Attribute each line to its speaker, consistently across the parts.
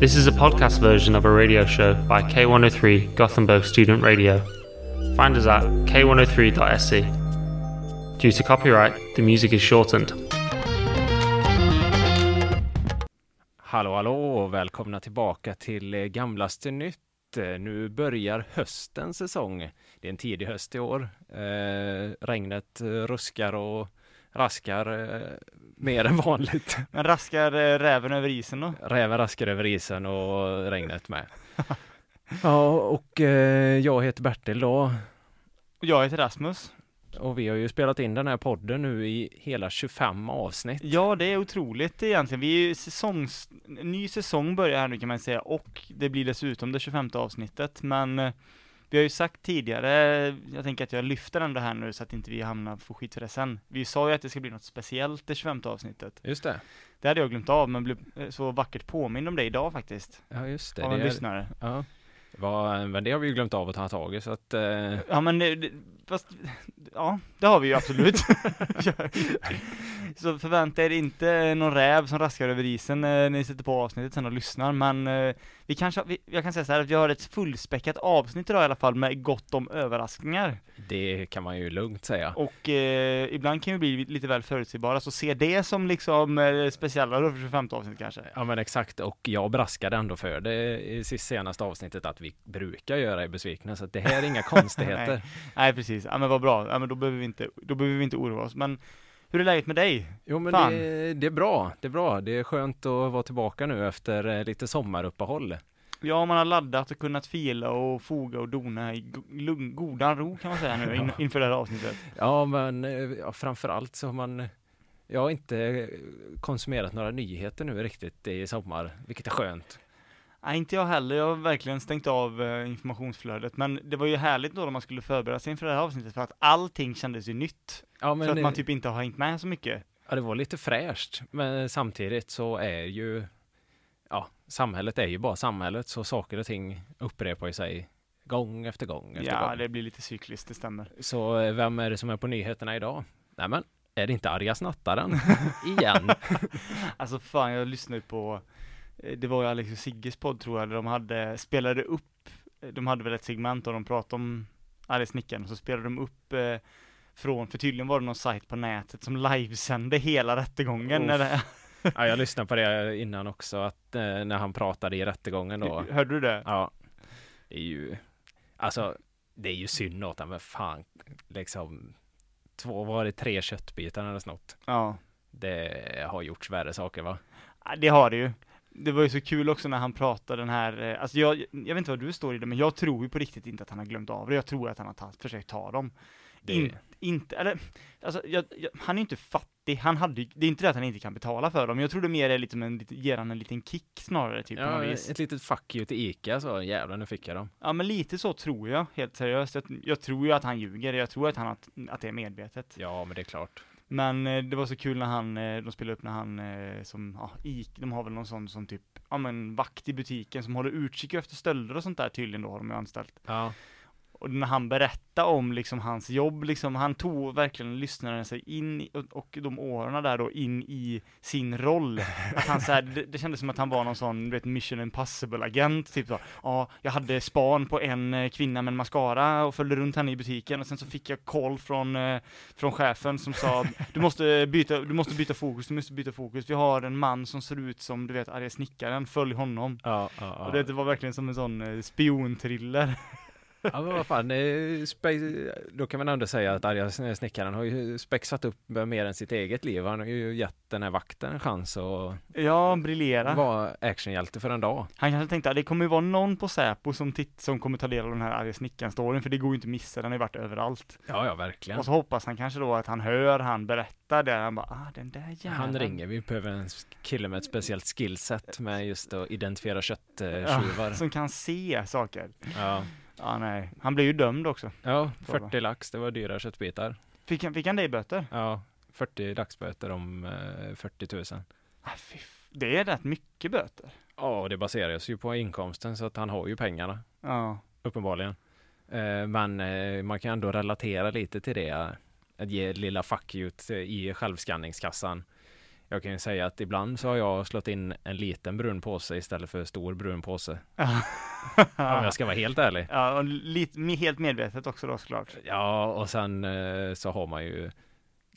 Speaker 1: This is a podcast version of a radio show by K103 Gothenburg Student Radio. Find us at k103.se. E. Due to copyright, the music is shortened.
Speaker 2: Hallå hallå och välkomna tillbaka till eh, Gamlaste Nytt. Eh, Nu börjar höstens säsong. Det är en tidig höst i år. Eh, regnet eh, ruskar och raskar eh, mer än vanligt.
Speaker 3: Men raskar eh, räven över isen då?
Speaker 2: Räven raskar över isen och regnet med. Ja, och eh, jag heter Bertil då.
Speaker 3: Och jag heter Rasmus.
Speaker 2: Och vi har ju spelat in den här podden nu i hela 25 avsnitt.
Speaker 3: Ja, det är otroligt egentligen. Vi är ju säsongs... Ny säsong börjar här nu kan man säga och det blir dessutom det 25 avsnittet men eh, vi har ju sagt tidigare, eh, jag tänker att jag lyfter ändå här nu så att inte vi hamnar får skit för det sen. Vi sa ju att det ska bli något speciellt det 25 avsnittet.
Speaker 2: Just det.
Speaker 3: Det hade jag glömt av men blev eh, så vackert påmind om det idag faktiskt.
Speaker 2: Ja, just det.
Speaker 3: Av en
Speaker 2: det är,
Speaker 3: lyssnare.
Speaker 2: ja. Vad- men det har vi ju glömt av att ta tag i så att eh,
Speaker 3: Ja men det, det, fast, ja det har vi ju absolut. så förvänta er inte någon räv som raskar över isen eh, när ni sätter på avsnittet sen och lyssnar men eh, vi kanske, vi, jag kan säga så här att vi har ett fullspäckat avsnitt idag i alla fall med gott om överraskningar
Speaker 2: Det kan man ju lugnt säga.
Speaker 3: och eh, ibland kan vi bli lite väl förutsägbara så se det som liksom eh, speciellare för 25 avsnitt kanske.
Speaker 2: Ja men exakt och jag braskade ändå för det i sist senaste avsnittet att vi brukar göra er besvikna så att det här är inga konstigheter.
Speaker 3: Nej precis, ja men vad bra, ja men då behöver vi inte, då behöver vi inte oroa oss men hur är läget med dig?
Speaker 2: Jo men
Speaker 3: Fan.
Speaker 2: det, det är bra, det är bra. Det är skönt att vara tillbaka nu efter eh, lite sommaruppehåll.
Speaker 3: Ja, man har laddat och kunnat fila och foga och dona i go- lugn, godan ro kan man säga nu in, inför det här avsnittet.
Speaker 2: Ja men eh, ja, framförallt så har man jag har inte eh, konsumerat några nyheter nu riktigt i sommar, vilket är skönt.
Speaker 3: Nej, inte jag heller. Jag har verkligen stängt av eh, informationsflödet. Men det var ju härligt då när man skulle förbereda sig inför det här avsnittet för att allting kändes ju nytt.
Speaker 2: Ja,
Speaker 3: för
Speaker 2: men,
Speaker 3: att man
Speaker 2: eh,
Speaker 3: typ inte har hängt med så mycket.
Speaker 2: ja, det var lite fräscht, men samtidigt så är ju ja, samhället är ju bara samhället, så saker och ting upprepar ju sig gång efter gång efter
Speaker 3: Ja,
Speaker 2: gång.
Speaker 3: det blir lite cykliskt, det stämmer.
Speaker 2: Så eh, vem är det som är på nyheterna idag? Nej men, är det inte arga snattaren? Igen?
Speaker 3: Alltså fan, jag lyssnade på, eh, det var ju Alex och Sigges podd tror jag, där de hade, spelade upp, eh, de hade väl ett segment och de pratade om Alice Snickaren, och så spelade de upp eh, från, för tydligen var det någon sajt på nätet som livesände hela rättegången när det,
Speaker 2: Ja, jag lyssnade på det innan också, att eh, när han pratade i rättegången då.
Speaker 3: hörde du det?
Speaker 2: Ja, det är ju, alltså, det är ju synd åt honom, men fan, liksom, två, var det tre köttbitar eller något?
Speaker 3: Ja.
Speaker 2: Det har gjorts värre saker va?
Speaker 3: Ja, Det har det ju. Det var ju så kul också när han pratade den här, eh, alltså jag, jag vet inte vad du står i det, men jag tror ju på riktigt inte att han har glömt av det, jag tror att han har tagit, försökt ta dem.
Speaker 2: Det,
Speaker 3: In, inte, eller, alltså, jag, jag, han är ju inte fattig, han hade ju- det är inte det att han inte kan betala för dem, jag tror det mer är liksom en, liten- ger han en liten kick snarare typ på
Speaker 2: ja,
Speaker 3: något vis.
Speaker 2: ett litet fuck you till Ica så, jävlar nu fick jag dem.
Speaker 3: Ja men lite så tror jag, helt seriöst. Jag, jag tror ju att han ljuger, jag tror att han att, att det är medvetet.
Speaker 2: Ja, men det är klart.
Speaker 3: Men eh, det var så kul när han, eh, de spelade upp när han eh, som, ja, ik, de har väl någon sån som typ, ja men vakt i butiken som håller utkik efter stölder och sånt där tydligen då har de ju anställt.
Speaker 2: Ja,
Speaker 3: Och när han berättade om liksom hans jobb, liksom, han tog verkligen lyssnaren sig in i, och- och de åren där då in i sin roll. Att han så här, det, det kändes som att han var någon sån, du vet, mission impossible-agent, typ så. Ja, jag hade span på en eh, kvinna med en mascara och följde runt henne i butiken och sen så fick jag call från, eh, från chefen som sa du måste byta, du måste byta fokus, du måste byta fokus. Vi har en man som ser ut som, du vet, arga snickaren, följ honom.
Speaker 2: ja, ja.
Speaker 3: Och det, det var verkligen som en sån eh, spionthriller.
Speaker 2: Ja men vad fan, eh, spe- då kan man ändå säga att arga sn- snickaren har ju spexat upp mer än sitt eget liv. Han har ju gett den här vakten en chans att
Speaker 3: Ja, briljera.
Speaker 2: vara actionhjälte för en dag.
Speaker 3: Han kanske tänkte att det kommer ju vara någon på Säpo som, titt- som kommer ta del av den här arga snickaren-storyn, för det går ju inte att missa, den har ju varit överallt.
Speaker 2: Ja, ja verkligen.
Speaker 3: Och så hoppas han kanske då att han hör han berättar det, han bara ah den där jäveln.
Speaker 2: Han ringer, vi behöver en kille med ett speciellt skillset med just att identifiera eh, kötttjuvar.
Speaker 3: Som kan se saker.
Speaker 2: Ja.
Speaker 3: Ja nej, han blev ju dömd också.
Speaker 2: ja,
Speaker 3: Så va.
Speaker 2: 40 lax, det var dyra köttbitar.
Speaker 3: Fick han, fick han det i böter?
Speaker 2: Ja, 40 dagsböter om eh, 40 000.
Speaker 3: Ah, fy, f- det är rätt mycket böter.
Speaker 2: Ja, och det baseras ju på inkomsten så att han har ju pengarna.
Speaker 3: Ja.
Speaker 2: Uppenbarligen. Eh, Men eh, man kan ändå relatera lite till det. Att ge lilla fuck you t- i självskanningskassan. Jag kan ju säga att ibland så har jag slått in en liten brun påse istället för stor brun påse. Om
Speaker 3: Ah.
Speaker 2: jag ska vara helt ärlig.
Speaker 3: Ja, och lite, me- helt medvetet också då såklart.
Speaker 2: Ja, och sen eh, så har man ju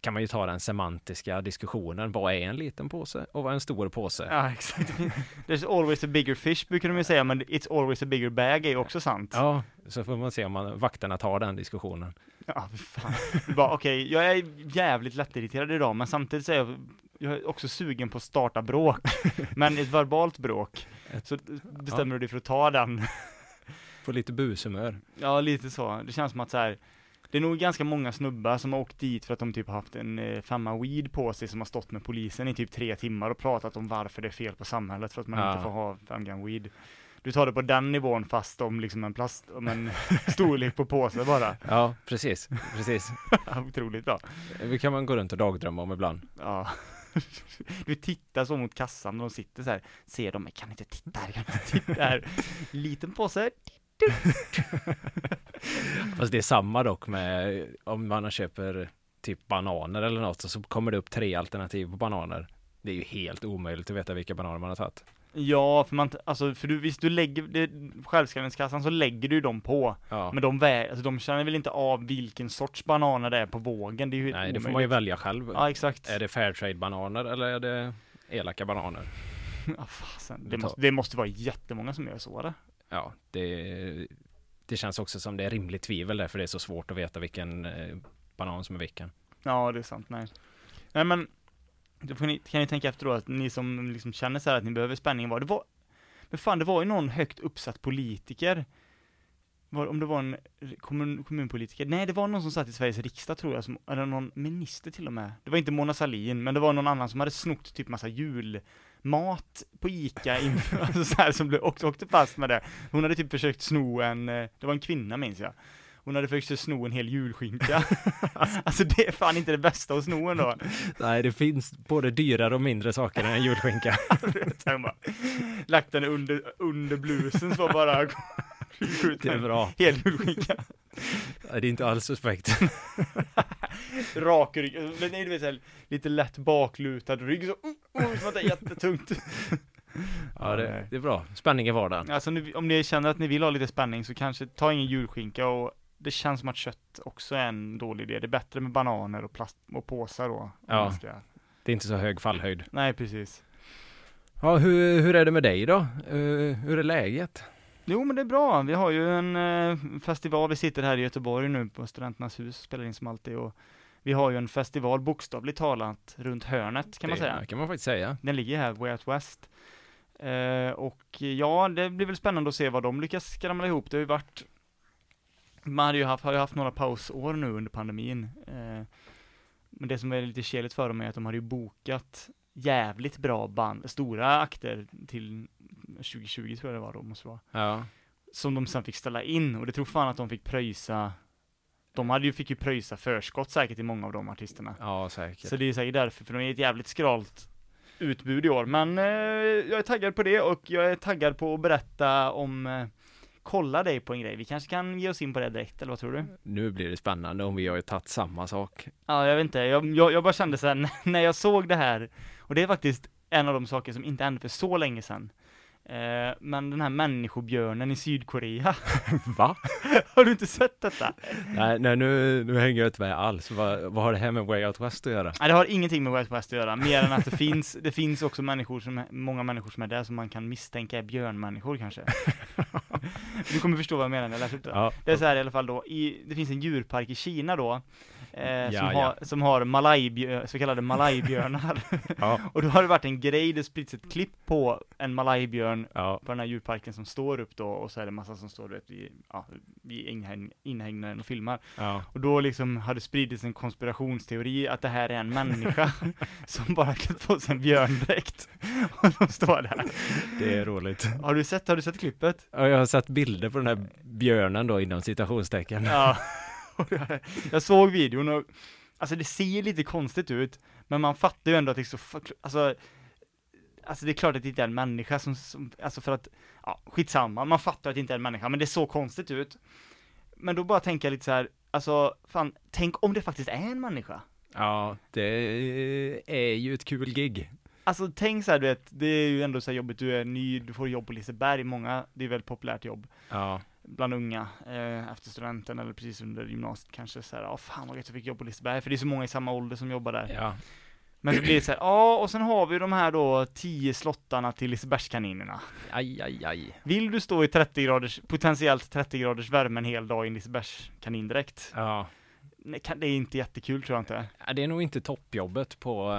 Speaker 2: kan man ju ta den semantiska diskussionen. Vad är en liten påse och vad är en stor påse?
Speaker 3: Ja, exakt. There's always a bigger fish brukar de ju säga, men it's always a bigger bag är ju också sant.
Speaker 2: Ja, så får man se om man, vakterna tar den diskussionen.
Speaker 3: Ja, fy fan. Det är Bara, okej, jag är jävligt lättirriterad idag, men samtidigt så är jag, jag är också sugen på att starta bråk. Men ett verbalt bråk. Så bestämmer du dig för att ta den.
Speaker 2: Får lite bushumör.
Speaker 3: Ja, lite så. Det känns som att så här, det är nog ganska många snubbar som har åkt dit för att de typ har haft en eh, femma weed på sig som har stått med polisen i typ tre timmar och pratat om varför det är fel på samhället för att man
Speaker 2: Ja.
Speaker 3: inte får ha fem gram weed. Du tar det på den nivån fast om liksom en plast, om en storlek på påse bara.
Speaker 2: Ja, precis, precis.
Speaker 3: Otroligt bra.
Speaker 2: Det kan man gå runt och dagdrömma om ibland.
Speaker 3: Ja. Du tittar så mot kassan och de sitter så här. Ser de mig? Kan inte titta här, kan inte titta här. Liten påse.
Speaker 2: Fast det är samma dock med om man köper typ bananer eller något och så kommer det upp tre alternativ på bananer. Det är ju helt omöjligt att veta vilka bananer man har tagit.
Speaker 3: Ja, för man, t- alltså, för du, visst du lägger, det, självskrivningskassan så lägger du dem på.
Speaker 2: Ja.
Speaker 3: Men de, vä- alltså, de känner väl inte av vilken sorts bananer det är på vågen. Det är ju
Speaker 2: Nej, det får man ju
Speaker 3: omöjligt.
Speaker 2: välja själv.
Speaker 3: Ja, exakt.
Speaker 2: Är det Fairtrade-bananer eller är det elaka bananer?
Speaker 3: Ja, fasen.
Speaker 2: Du
Speaker 3: Det,
Speaker 2: tar-
Speaker 3: måste, det måste vara jättemånga som gör så, eller?
Speaker 2: Ja, det, det känns också som det är rimligt tvivel där, för det är så svårt att veta vilken eh, banan som är vilken.
Speaker 3: Ja, det är sant. Nej. Nej, men då får ni, kan ni tänka efter då att ni som liksom känner så här att ni behöver spänning var det var Men fan, det var ju någon högt uppsatt politiker. Var, om det var en kommun, kommunpolitiker. Nej, det var någon som satt i Sveriges riksdag tror jag, som, eller någon minister till och med. Det var inte Mona Sahlin, men det var någon annan som hade snott typ massa julmat på Ica inför, alltså så här, som blev, åkte, åkte fast med det. Hon hade typ försökt sno en, eh, det var en kvinna minns jag. Hon hade försökt sno en hel julskinka. alltså det är fan inte det bästa att sno ändå.
Speaker 2: Nej, det finns både dyrare och mindre saker än en julskinka.
Speaker 3: Så han bara, lagt den under, under blusen så var bara skjuten.
Speaker 2: Det är bra.
Speaker 3: Hel julskinka.
Speaker 2: Det är inte alls suspekt.
Speaker 3: Rak rygg. Men Nej, du vet, så här, lite lätt baklutad rygg så. Oh, oh, som att det är jättetungt.
Speaker 2: Ja, det, det är bra. Spänning i vardagen.
Speaker 3: Alltså nu, om ni känner att ni vill ha lite spänning så kanske ta ingen julskinka och det känns som att kött också är en dålig idé. Det är bättre med bananer och plast och påsar då. om
Speaker 2: Ja.
Speaker 3: man ska-
Speaker 2: Det är inte så hög fallhöjd.
Speaker 3: Nej, precis.
Speaker 2: Ja, hur, hur är det med dig då? Eh, hur är läget?
Speaker 3: Jo, men det är bra. Vi har ju en eh, festival. Vi sitter här i Göteborg nu på Studenternas hus, spelar in som alltid och vi har ju en festival bokstavligt talat runt hörnet kan man
Speaker 2: det,
Speaker 3: säga.
Speaker 2: kan man faktiskt säga.
Speaker 3: Den ligger här, Way Out West. Eh, och ja, det blir väl spännande att se vad de lyckas skramla ihop. Det har ju varit man hade ju haft, har ju haft några pausår nu under pandemin. Eh, men det som är lite keligt för dem är att de hade ju bokat jävligt bra band, stora akter till 2020 tror jag det var då, måste det vara
Speaker 2: Ja,
Speaker 3: som de sen fick ställa in och det tror fan att de fick pröjsa De hade ju, fick ju pröjsa förskott säkert i många av de artisterna
Speaker 2: ja säkert.
Speaker 3: Så det är säkert därför, för de är ett jävligt skralt utbud i år Men eh, jag är taggad på det och jag är taggad på att berätta om eh, Kolla dig på en grej, vi kanske kan ge oss in på det direkt eller vad tror du?
Speaker 2: Nu blir det spännande om vi har ju tagit samma sak.
Speaker 3: Ja, jag vet inte, jag, jag, jag bara kände sen när jag såg det här Och det är faktiskt en av de saker som inte hände för så länge sedan eh, Men den här människobjörnen i Sydkorea,
Speaker 2: Va?
Speaker 3: har du inte sett detta?
Speaker 2: nej, nej nu, nu hänger jag inte med alls. Vad, vad har det här med Way Out West att göra?
Speaker 3: Nej, det har ingenting med West West att göra, mer än att det finns, det finns också människor som, många människor som är där som man kan misstänka är björnmänniskor kanske. du kommer förstå vad jag menar när jag läser upp det.
Speaker 2: Ja,
Speaker 3: Det är så här i alla fall då, i, det finns en djurpark i Kina då, eh,
Speaker 2: Ja,
Speaker 3: som,
Speaker 2: ja.
Speaker 3: har, som har malajbjör, så kallade malajbjörnar.
Speaker 2: ja,
Speaker 3: Och då har det varit en grej, det spritts ett klipp på en malajbjörn
Speaker 2: ja,
Speaker 3: på den här djurparken som står upp då, och så är det massa som står du vet, vid, ja, vid inhägn- inhägnaden och filmar.
Speaker 2: ja.
Speaker 3: Och då liksom hade spridits en konspirationsteori att det här är en människa som bara klätt på sig en björndräkt. Och de står där.
Speaker 2: Det är roligt.
Speaker 3: Har du sett, har du sett klippet?
Speaker 2: Ja, jag har sett bilder på den här björnen då inom citationstecken.
Speaker 3: Ja. Och jag- Jag såg videon och, alltså det ser lite konstigt ut, men man fattar ju ändå att det är så, fuck- alltså, alltså det är klart att det inte är en människa som, som alltså för att, ja, skitsamma, man fattar att det inte är en människa, men det såg konstigt ut. Men då bara tänker jag lite så här, alltså, fan, tänk om det faktiskt är en människa?
Speaker 2: Ja, det är ju ett kul gig.
Speaker 3: Alltså tänk så här, du vet, det är ju ändå så här jobbigt, du är ny, du får jobb på Liseberg, många, det är väldigt populärt jobb
Speaker 2: Ja,
Speaker 3: bland unga eh, efter studenten eller precis under gymnasiet kanske så här, ja fan vad gött jag fick jobb på Liseberg, för det är så många i samma ålder som jobbar där.
Speaker 2: ja,
Speaker 3: Men så blir det så här, ja och sen har vi de här då 10 slottarna till Lisebergskaninerna.
Speaker 2: aj, aj, aj.
Speaker 3: Vill du stå i 30 graders, potentiellt 30 graders värme en hel dag i en Lisebergskanindräkt?
Speaker 2: Ja.
Speaker 3: Nej, kan- Det är inte jättekul tror jag inte.
Speaker 2: Ja, Det är nog inte toppjobbet på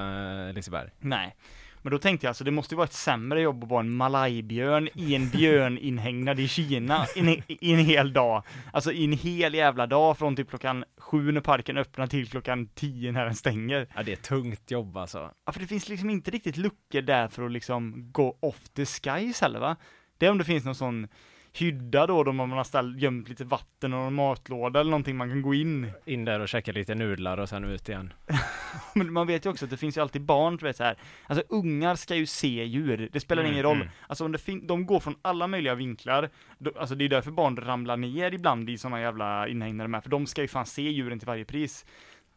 Speaker 2: eh, Liseberg.
Speaker 3: Nej. Men då tänkte jag alltså, det måste ju vara ett sämre jobb att vara en malajbjörn i en björn inhägnad i Kina i en, i en hel dag. Alltså i en hel jävla dag från typ klockan sju när parken öppnar till klockan tio när den stänger.
Speaker 2: Ja, det är ett tungt jobb alltså.
Speaker 3: Ja, för det finns liksom inte riktigt luckor där för att liksom gå off the skies heller va? Det är om det finns någon sån hydda då, då man har ställt, gömt lite vatten och någon matlåda eller någonting man kan gå in.
Speaker 2: In där och käka lite nudlar och sen ut igen.
Speaker 3: Men man vet ju också att det finns ju alltid barn, du vet så här. Alltså ungar ska ju se djur, det spelar
Speaker 2: Mm,
Speaker 3: ingen roll.
Speaker 2: mm.
Speaker 3: Alltså om det fin- de går från alla möjliga vinklar, då, alltså det är därför barn ramlar ner ibland i sådana jävla inhägnader med, för de ska ju fan se djuren till varje pris.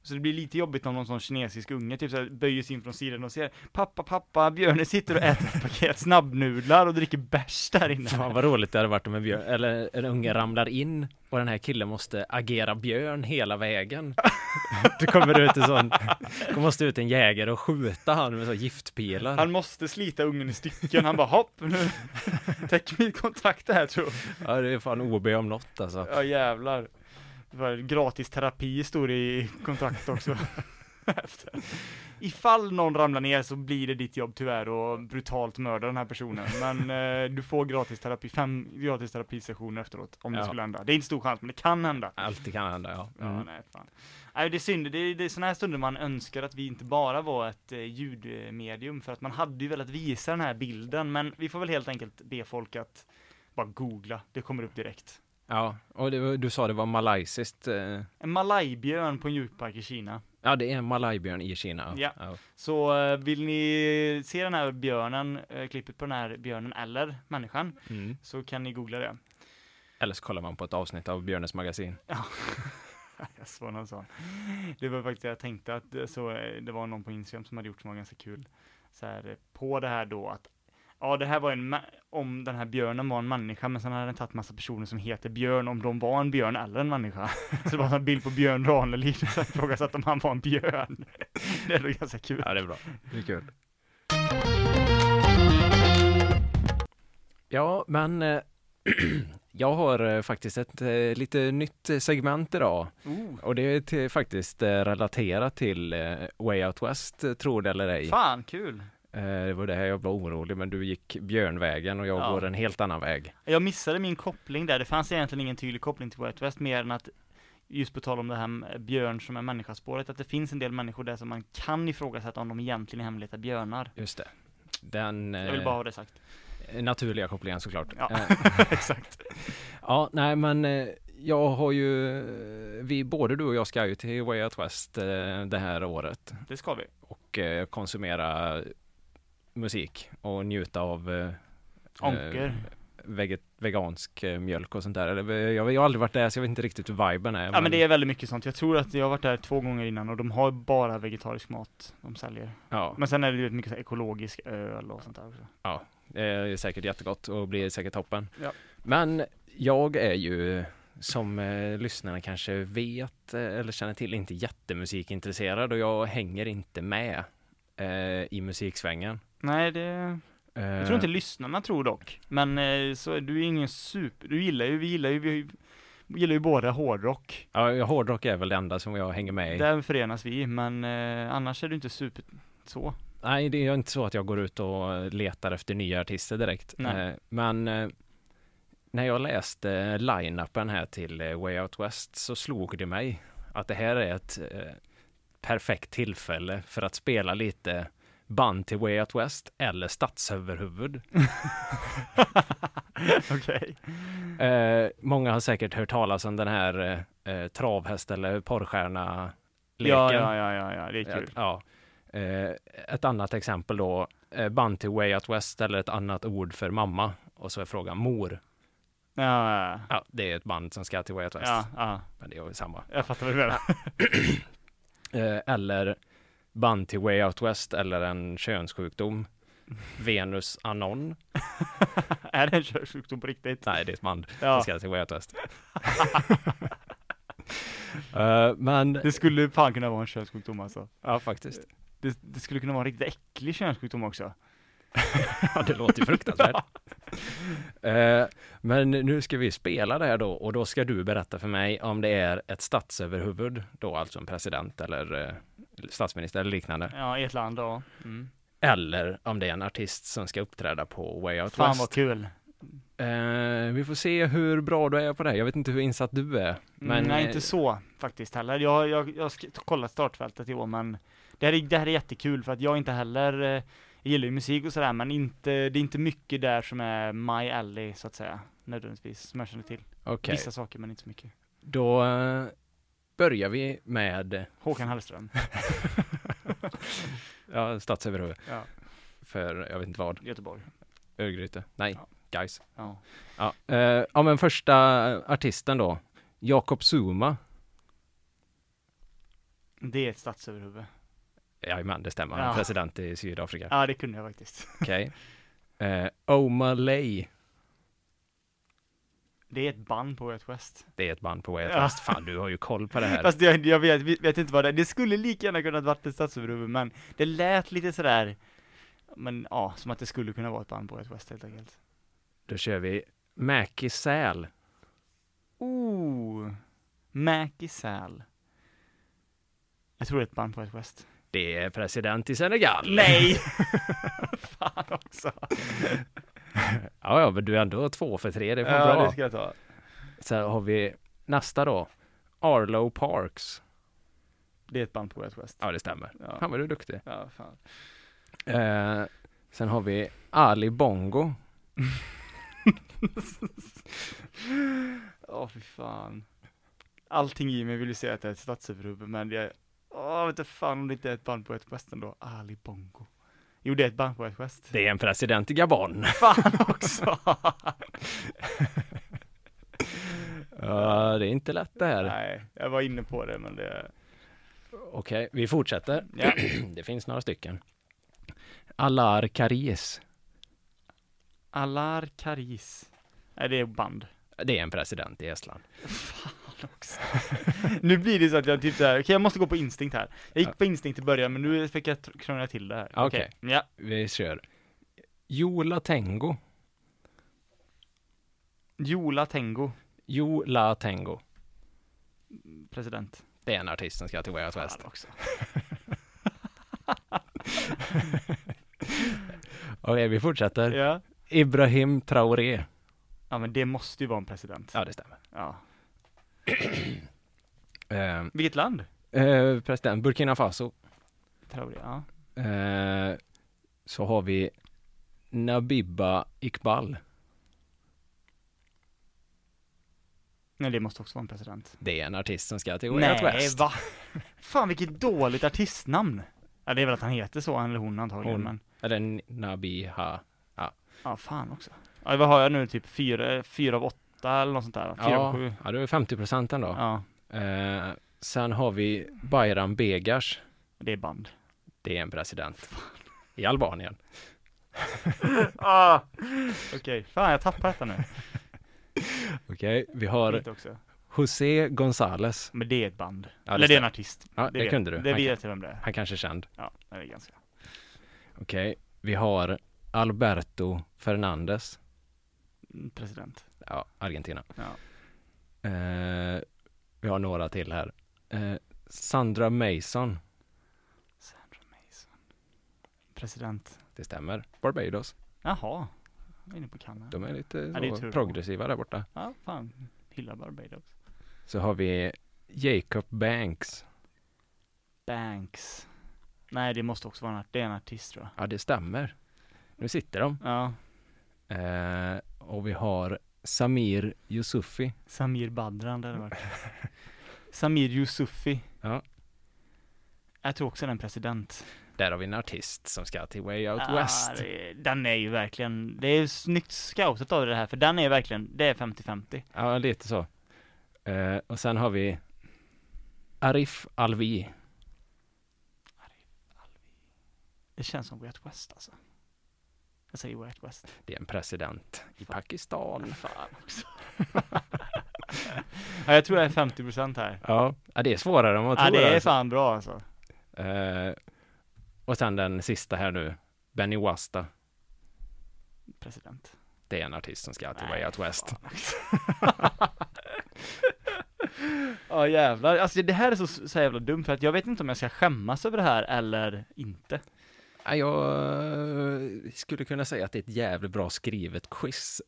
Speaker 3: Så det blir lite jobbigt om någon sån kinesisk unge typ så här, böjer sig in från sidan och ser Pappa, pappa, björnen sitter och äter ett paket snabbnudlar och dricker bärs där inne.
Speaker 2: Fan vad roligt det hade varit om en, björn, eller en unge ramlar in och den här killen måste agera björn hela vägen. Det kommer ut en sån, det måste ut en jägare och skjuta han med så här giftpilar.
Speaker 3: Han måste slita ungen i stycken, han bara hopp, nu täcker mitt kontrakt det här tror jag.
Speaker 2: Ja, det är fan OB om något alltså.
Speaker 3: Ja jävlar. Det var gratis terapi stod det i kontraktet också. Efter. Ifall någon ramlar ner så blir det ditt jobb tyvärr och brutalt mörda den här personen. Men eh, du får gratis terapi, fem gratis terapisessioner efteråt om det
Speaker 2: Ja.
Speaker 3: skulle hända. Det är inte stor chans men det kan hända.
Speaker 2: Alltid kan hända ja.
Speaker 3: Ja,
Speaker 2: Mm.
Speaker 3: nej, fan. nej det är synd, det är, det är sådana här stunder man önskar att vi inte bara var ett eh, ljudmedium för att man hade ju velat visa den här bilden men vi får väl helt enkelt be folk att bara googla, det kommer upp direkt.
Speaker 2: Ja, och det, var- du sa det var malaysiskt. eh,
Speaker 3: En malajbjörn på en djurpark i Kina.
Speaker 2: Ja, det är en malajbjörn i Kina.
Speaker 3: Ja.
Speaker 2: ja.
Speaker 3: Så eh, vill ni se den här björnen, eh, klippet på den här björnen eller människan,
Speaker 2: Mm.
Speaker 3: så kan ni googla det.
Speaker 2: Eller så kollar man på ett avsnitt av Björnes magasin.
Speaker 3: Jag såg någon sån. Det var faktiskt det jag tänkte att eh, så, eh, det var någon på Instagram som hade gjort som var ganska kul. Så här, eh, på det här då att, ja det här var en, ma- om den här björnen var en människa, men sen hade den tagit massa personer som heter Björn, om de var en björn eller en människa. Så det var en bild på Björn Ranelid, och sen ifrågasatte om han var en björn. Det är ändå ganska kul.
Speaker 2: Ja, det är bra. Det är kul. Ja, men eh, jag har eh, faktiskt ett eh, lite nytt eh, segment idag
Speaker 3: Oh,
Speaker 2: och det är till, faktiskt eh, relaterat till eh, Way Out West, eh, tror det eller ej.
Speaker 3: fan kul!
Speaker 2: Eh, Det var det här jag var orolig, men du gick björnvägen och jag
Speaker 3: Ja.
Speaker 2: går en helt annan väg.
Speaker 3: Jag missade min koppling där, det fanns egentligen ingen tydlig koppling till White West mer än att just på tal om det här med björn som är människaspåret, att det finns en del människor där som man kan ifrågasätta om de egentligen är hemleta björnar.
Speaker 2: Just det. Den
Speaker 3: Jag vill
Speaker 2: eh,
Speaker 3: bara ha det sagt.
Speaker 2: naturliga kopplingen såklart.
Speaker 3: Ja.
Speaker 2: Eh,
Speaker 3: Exakt.
Speaker 2: Ja, nej men eh, jag har ju, eh, vi, både du och jag ska ju till Way Out West eh, det här året
Speaker 3: Det ska vi.
Speaker 2: och eh, konsumera musik och njuta av eh,
Speaker 3: Onker.
Speaker 2: eh, veget, vegansk eh, mjölk och sånt där. Eller, eh, jag, jag har aldrig varit där så jag vet inte riktigt hur viben är.
Speaker 3: ja men det är väldigt mycket sånt. Jag tror att jag har varit där två gånger innan och de har bara vegetarisk mat de säljer.
Speaker 2: ja,
Speaker 3: Men sen är det ju mycket så här ekologisk öl och sånt där också.
Speaker 2: det Eh, är säkert jättegott och blir säkert toppen.
Speaker 3: Ja.
Speaker 2: Men jag är ju som eh, lyssnarna kanske vet eh, eller känner till inte jättemusikintresserad och jag hänger inte med eh, i musiksvängen.
Speaker 3: Nej, det... Jag tror inte lyssnarna tror dock. Men eh, så, du är ingen super... Du gillar ju, vi gillar ju, vi gillar ju båda hårdrock.
Speaker 2: Eh, Ja, hårdrock är väl det enda som jag hänger med i.
Speaker 3: Där förenas vi, men eh, annars är du inte super så.
Speaker 2: Nej, det är inte så att jag går ut och letar efter nya artister direkt.
Speaker 3: Nej.
Speaker 2: Eh, Men eh, när jag läste line-upen här till eh, Way Out West så slog det mig att det här är ett eh, perfekt tillfälle för att spela lite band till Way Out West eller statsöverhuvud.
Speaker 3: Okej. Mm.
Speaker 2: Eh, många har säkert hört talas om den här eh, eh, travhäst eller porrstjärna-leken.
Speaker 3: Ja, ja, ja, ja, ja, det är kul.
Speaker 2: Ja. Eh, ett annat exempel då, eh, band till Way Out West eller ett annat ord för mamma. Och så är frågan mor.
Speaker 3: Ja, ja,
Speaker 2: Ja, det är ett band som ska till Way Out West.
Speaker 3: ja, ja,
Speaker 2: Men det är ju samma.
Speaker 3: jag fattar vad du menar.
Speaker 2: Eh, eller band till Way Out West eller en könssjukdom. Venus Anon.
Speaker 3: Är det en körsjukdom på riktigt?
Speaker 2: Nej, det är ett band.
Speaker 3: Ja.
Speaker 2: Jag ska till Way Out West. Eh, men,
Speaker 3: Det skulle fan kunna vara en könssjukdom alltså.
Speaker 2: ja faktiskt.
Speaker 3: Det, det skulle kunna vara en riktigt äcklig könssjukdom också.
Speaker 2: Ja, det låter ju fruktansvärt. Eh, Men nu ska vi spela det här då och då ska du berätta för mig om det är ett statsöverhuvud, då alltså en president eller eh, statsminister eller liknande,
Speaker 3: Ja, i ett land, ja. Mm.
Speaker 2: eller om det är en artist som ska uppträda på Way Out
Speaker 3: Fan vad
Speaker 2: West.
Speaker 3: kul.
Speaker 2: Eh, vi får se hur bra du är på det. här. Jag vet inte hur insatt du är. Men
Speaker 3: Men Mm, nej,
Speaker 2: eh,
Speaker 3: inte så faktiskt heller. Jag, jag, jag har sk- kollat startfältet i år, men det här, är, det här är jättekul för att jag inte heller eh, jag gillar ju musik och sådär, men inte, det är inte mycket där som är my alley så att säga, nödvändigtvis, som jag känner till.
Speaker 2: okej.
Speaker 3: Vissa saker, men inte så mycket.
Speaker 2: Då eh, börjar vi med
Speaker 3: Håkan Hellström.
Speaker 2: ja, statsöverhuvud
Speaker 3: ja,
Speaker 2: för, jag vet inte vad,
Speaker 3: Göteborg.
Speaker 2: Örgryte? Nej, guys.
Speaker 3: Ja.
Speaker 2: Ja, eh, ja men första artisten då, Jakob Zuma.
Speaker 3: Det är ett statsöverhuvud.
Speaker 2: Jajamän, det stämmer. Han är
Speaker 3: Ja.
Speaker 2: president i Sydafrika.
Speaker 3: Ja, det kunde jag faktiskt.
Speaker 2: Okej. Eh, Oma Lay,
Speaker 3: Det är ett band på Wet West.
Speaker 2: det är ett band på Way Out
Speaker 3: Ja.
Speaker 2: West. Fan, du har ju koll på det här.
Speaker 3: Fast jag, jag vet, vet inte vad det är. Det skulle lika gärna kunnat varit ett statsöverhuvud, men det lät lite sådär, men ja, som att det skulle kunna vara ett band på Wet West helt enkelt.
Speaker 2: Då kör vi Mäki Säl.
Speaker 3: Oh, Mäki Säl. Jag tror det är ett band på ett West.
Speaker 2: Det är president i Senegal.
Speaker 3: Nej! Fan också.
Speaker 2: Ja, ja, men du är ändå två för tre. Det är fan bra.
Speaker 3: jag ta.
Speaker 2: Så här har vi nästa då. Arlo Parks.
Speaker 3: Det är ett band på ett West.
Speaker 2: Ja, det stämmer.
Speaker 3: Ja.
Speaker 2: Fan vad du är duktig.
Speaker 3: Ja, fan.
Speaker 2: Eh, sen har vi Ali Bongo.
Speaker 3: Åh, fy fan. Allting i mig vill ju säga att det är ett statsöverhuvud, men jag... Åh, vet inte fan om det inte är ett band på ett West ändå. Ali Bongo. Jo, det är ett band på ett West.
Speaker 2: Det är en president i Gabon.
Speaker 3: Fan också!
Speaker 2: Ja, det är inte lätt det här.
Speaker 3: Nej, jag var inne på det, men det...
Speaker 2: Okej, vi fortsätter.
Speaker 3: Ja.
Speaker 2: Det finns några stycken. Alar Karis.
Speaker 3: Alar Karis. Nej, det är band.
Speaker 2: Det är en president i Estland.
Speaker 3: också. nu blir det så att jag typ såhär, okej jag måste gå på instinkt här. Jag gick på instinkt i början men nu fick jag tr- krångla till det här.
Speaker 2: Okej.
Speaker 3: Ja,
Speaker 2: Vi kör. Jola Tengo.
Speaker 3: Jola Tengo,
Speaker 2: Jola Tengo.
Speaker 3: president.
Speaker 2: Det är en artist som ska till Way Out West.
Speaker 3: Fan också.
Speaker 2: Okej, vi fortsätter.
Speaker 3: Ja.
Speaker 2: Ibrahim Traoré.
Speaker 3: ja, men det måste ju vara en president.
Speaker 2: Ja, det stämmer.
Speaker 3: Ja.
Speaker 2: Eh,
Speaker 3: Vilket land?
Speaker 2: eh, president Burkina Faso.
Speaker 3: Traoré, ja.
Speaker 2: Eh, så har vi Nabiba Iqbal.
Speaker 3: Nej, det måste också vara en president.
Speaker 2: Det är en artist som ska till Way Out West.
Speaker 3: va? Fan vilket dåligt artistnamn. Ja, det är väl att han heter så, han eller hon antagligen,
Speaker 2: Hon.
Speaker 3: men
Speaker 2: Eller Nabiha.
Speaker 3: ja, fan också. Ja, vad har jag nu? Typ fyra, fyra av åtta eller något sånt där? Fyra av
Speaker 2: Ja,
Speaker 3: sju?
Speaker 2: ja, det är 50 procent ändå.
Speaker 3: Ja,
Speaker 2: Eh, sen har vi Bayram Begas.
Speaker 3: det är band.
Speaker 2: Det är en president. I Albanien.
Speaker 3: Ah, Okej, fan jag tappar detta nu.
Speaker 2: Okej, vi har
Speaker 3: Lite också.
Speaker 2: José González.
Speaker 3: Men det är ett band.
Speaker 2: Ja, det
Speaker 3: Eller det är en
Speaker 2: stämmer.
Speaker 3: artist.
Speaker 2: Ja, det
Speaker 3: vet-
Speaker 2: kunde du.
Speaker 3: Det
Speaker 2: Han-
Speaker 3: vet jag vem det är.
Speaker 2: Han kanske är känd.
Speaker 3: Ja, det är ganska.
Speaker 2: Okej, vi har Alberto Fernandes.
Speaker 3: Mm, President.
Speaker 2: Ja, Argentina.
Speaker 3: Ja.
Speaker 2: Eh, vi har några till här. Eh, Sandra Mason.
Speaker 3: Sandra Mason. President.
Speaker 2: Det stämmer. Barbados.
Speaker 3: Jaha. Jag är inne på Kanada.
Speaker 2: De är lite
Speaker 3: Ja, det är
Speaker 2: så
Speaker 3: tur.
Speaker 2: progressiva där borta.
Speaker 3: Ja, fan. Hyllar Barbados.
Speaker 2: Så har vi Jacob Banks.
Speaker 3: Banks. Nej, det måste också vara en, art- det är en artist tror jag.
Speaker 2: Ja, det stämmer. Nu sitter de.
Speaker 3: Ja.
Speaker 2: Eh, och vi har Samir Yusufi.
Speaker 3: Samir Badran, det hade varit. Samir Yusufi.
Speaker 2: Ja.
Speaker 3: Jag tror också den är en president.
Speaker 2: Där har vi en artist som ska till Way Out
Speaker 3: Ah,
Speaker 2: West.
Speaker 3: det- Den är ju verkligen, det är ju snyggt scoutat av det här, för den är verkligen, det är 50-50.
Speaker 2: Ja, lite så. Eh, och sen har vi Arif Alvi.
Speaker 3: Det känns som Way Out West alltså. Jag säger Way Out West.
Speaker 2: Det är en president i Pakistan.
Speaker 3: Fan också. ja, jag tror jag är 50% här.
Speaker 2: Ja, ja, det är svårare än vad
Speaker 3: Ja,
Speaker 2: man tror.
Speaker 3: det är
Speaker 2: alltså.
Speaker 3: fan bra alltså.
Speaker 2: Eh, och sen den sista här nu, Benny Wasta.
Speaker 3: President.
Speaker 2: Det är en artist som ska till
Speaker 3: Nej,
Speaker 2: Way Out West.
Speaker 3: Ja jävlar, alltså det här är så, så jävla dumt för att jag vet inte om jag ska skämmas över det här eller inte.
Speaker 2: Ja, jag eh, skulle kunna säga att det är ett jävligt bra skrivet quiz.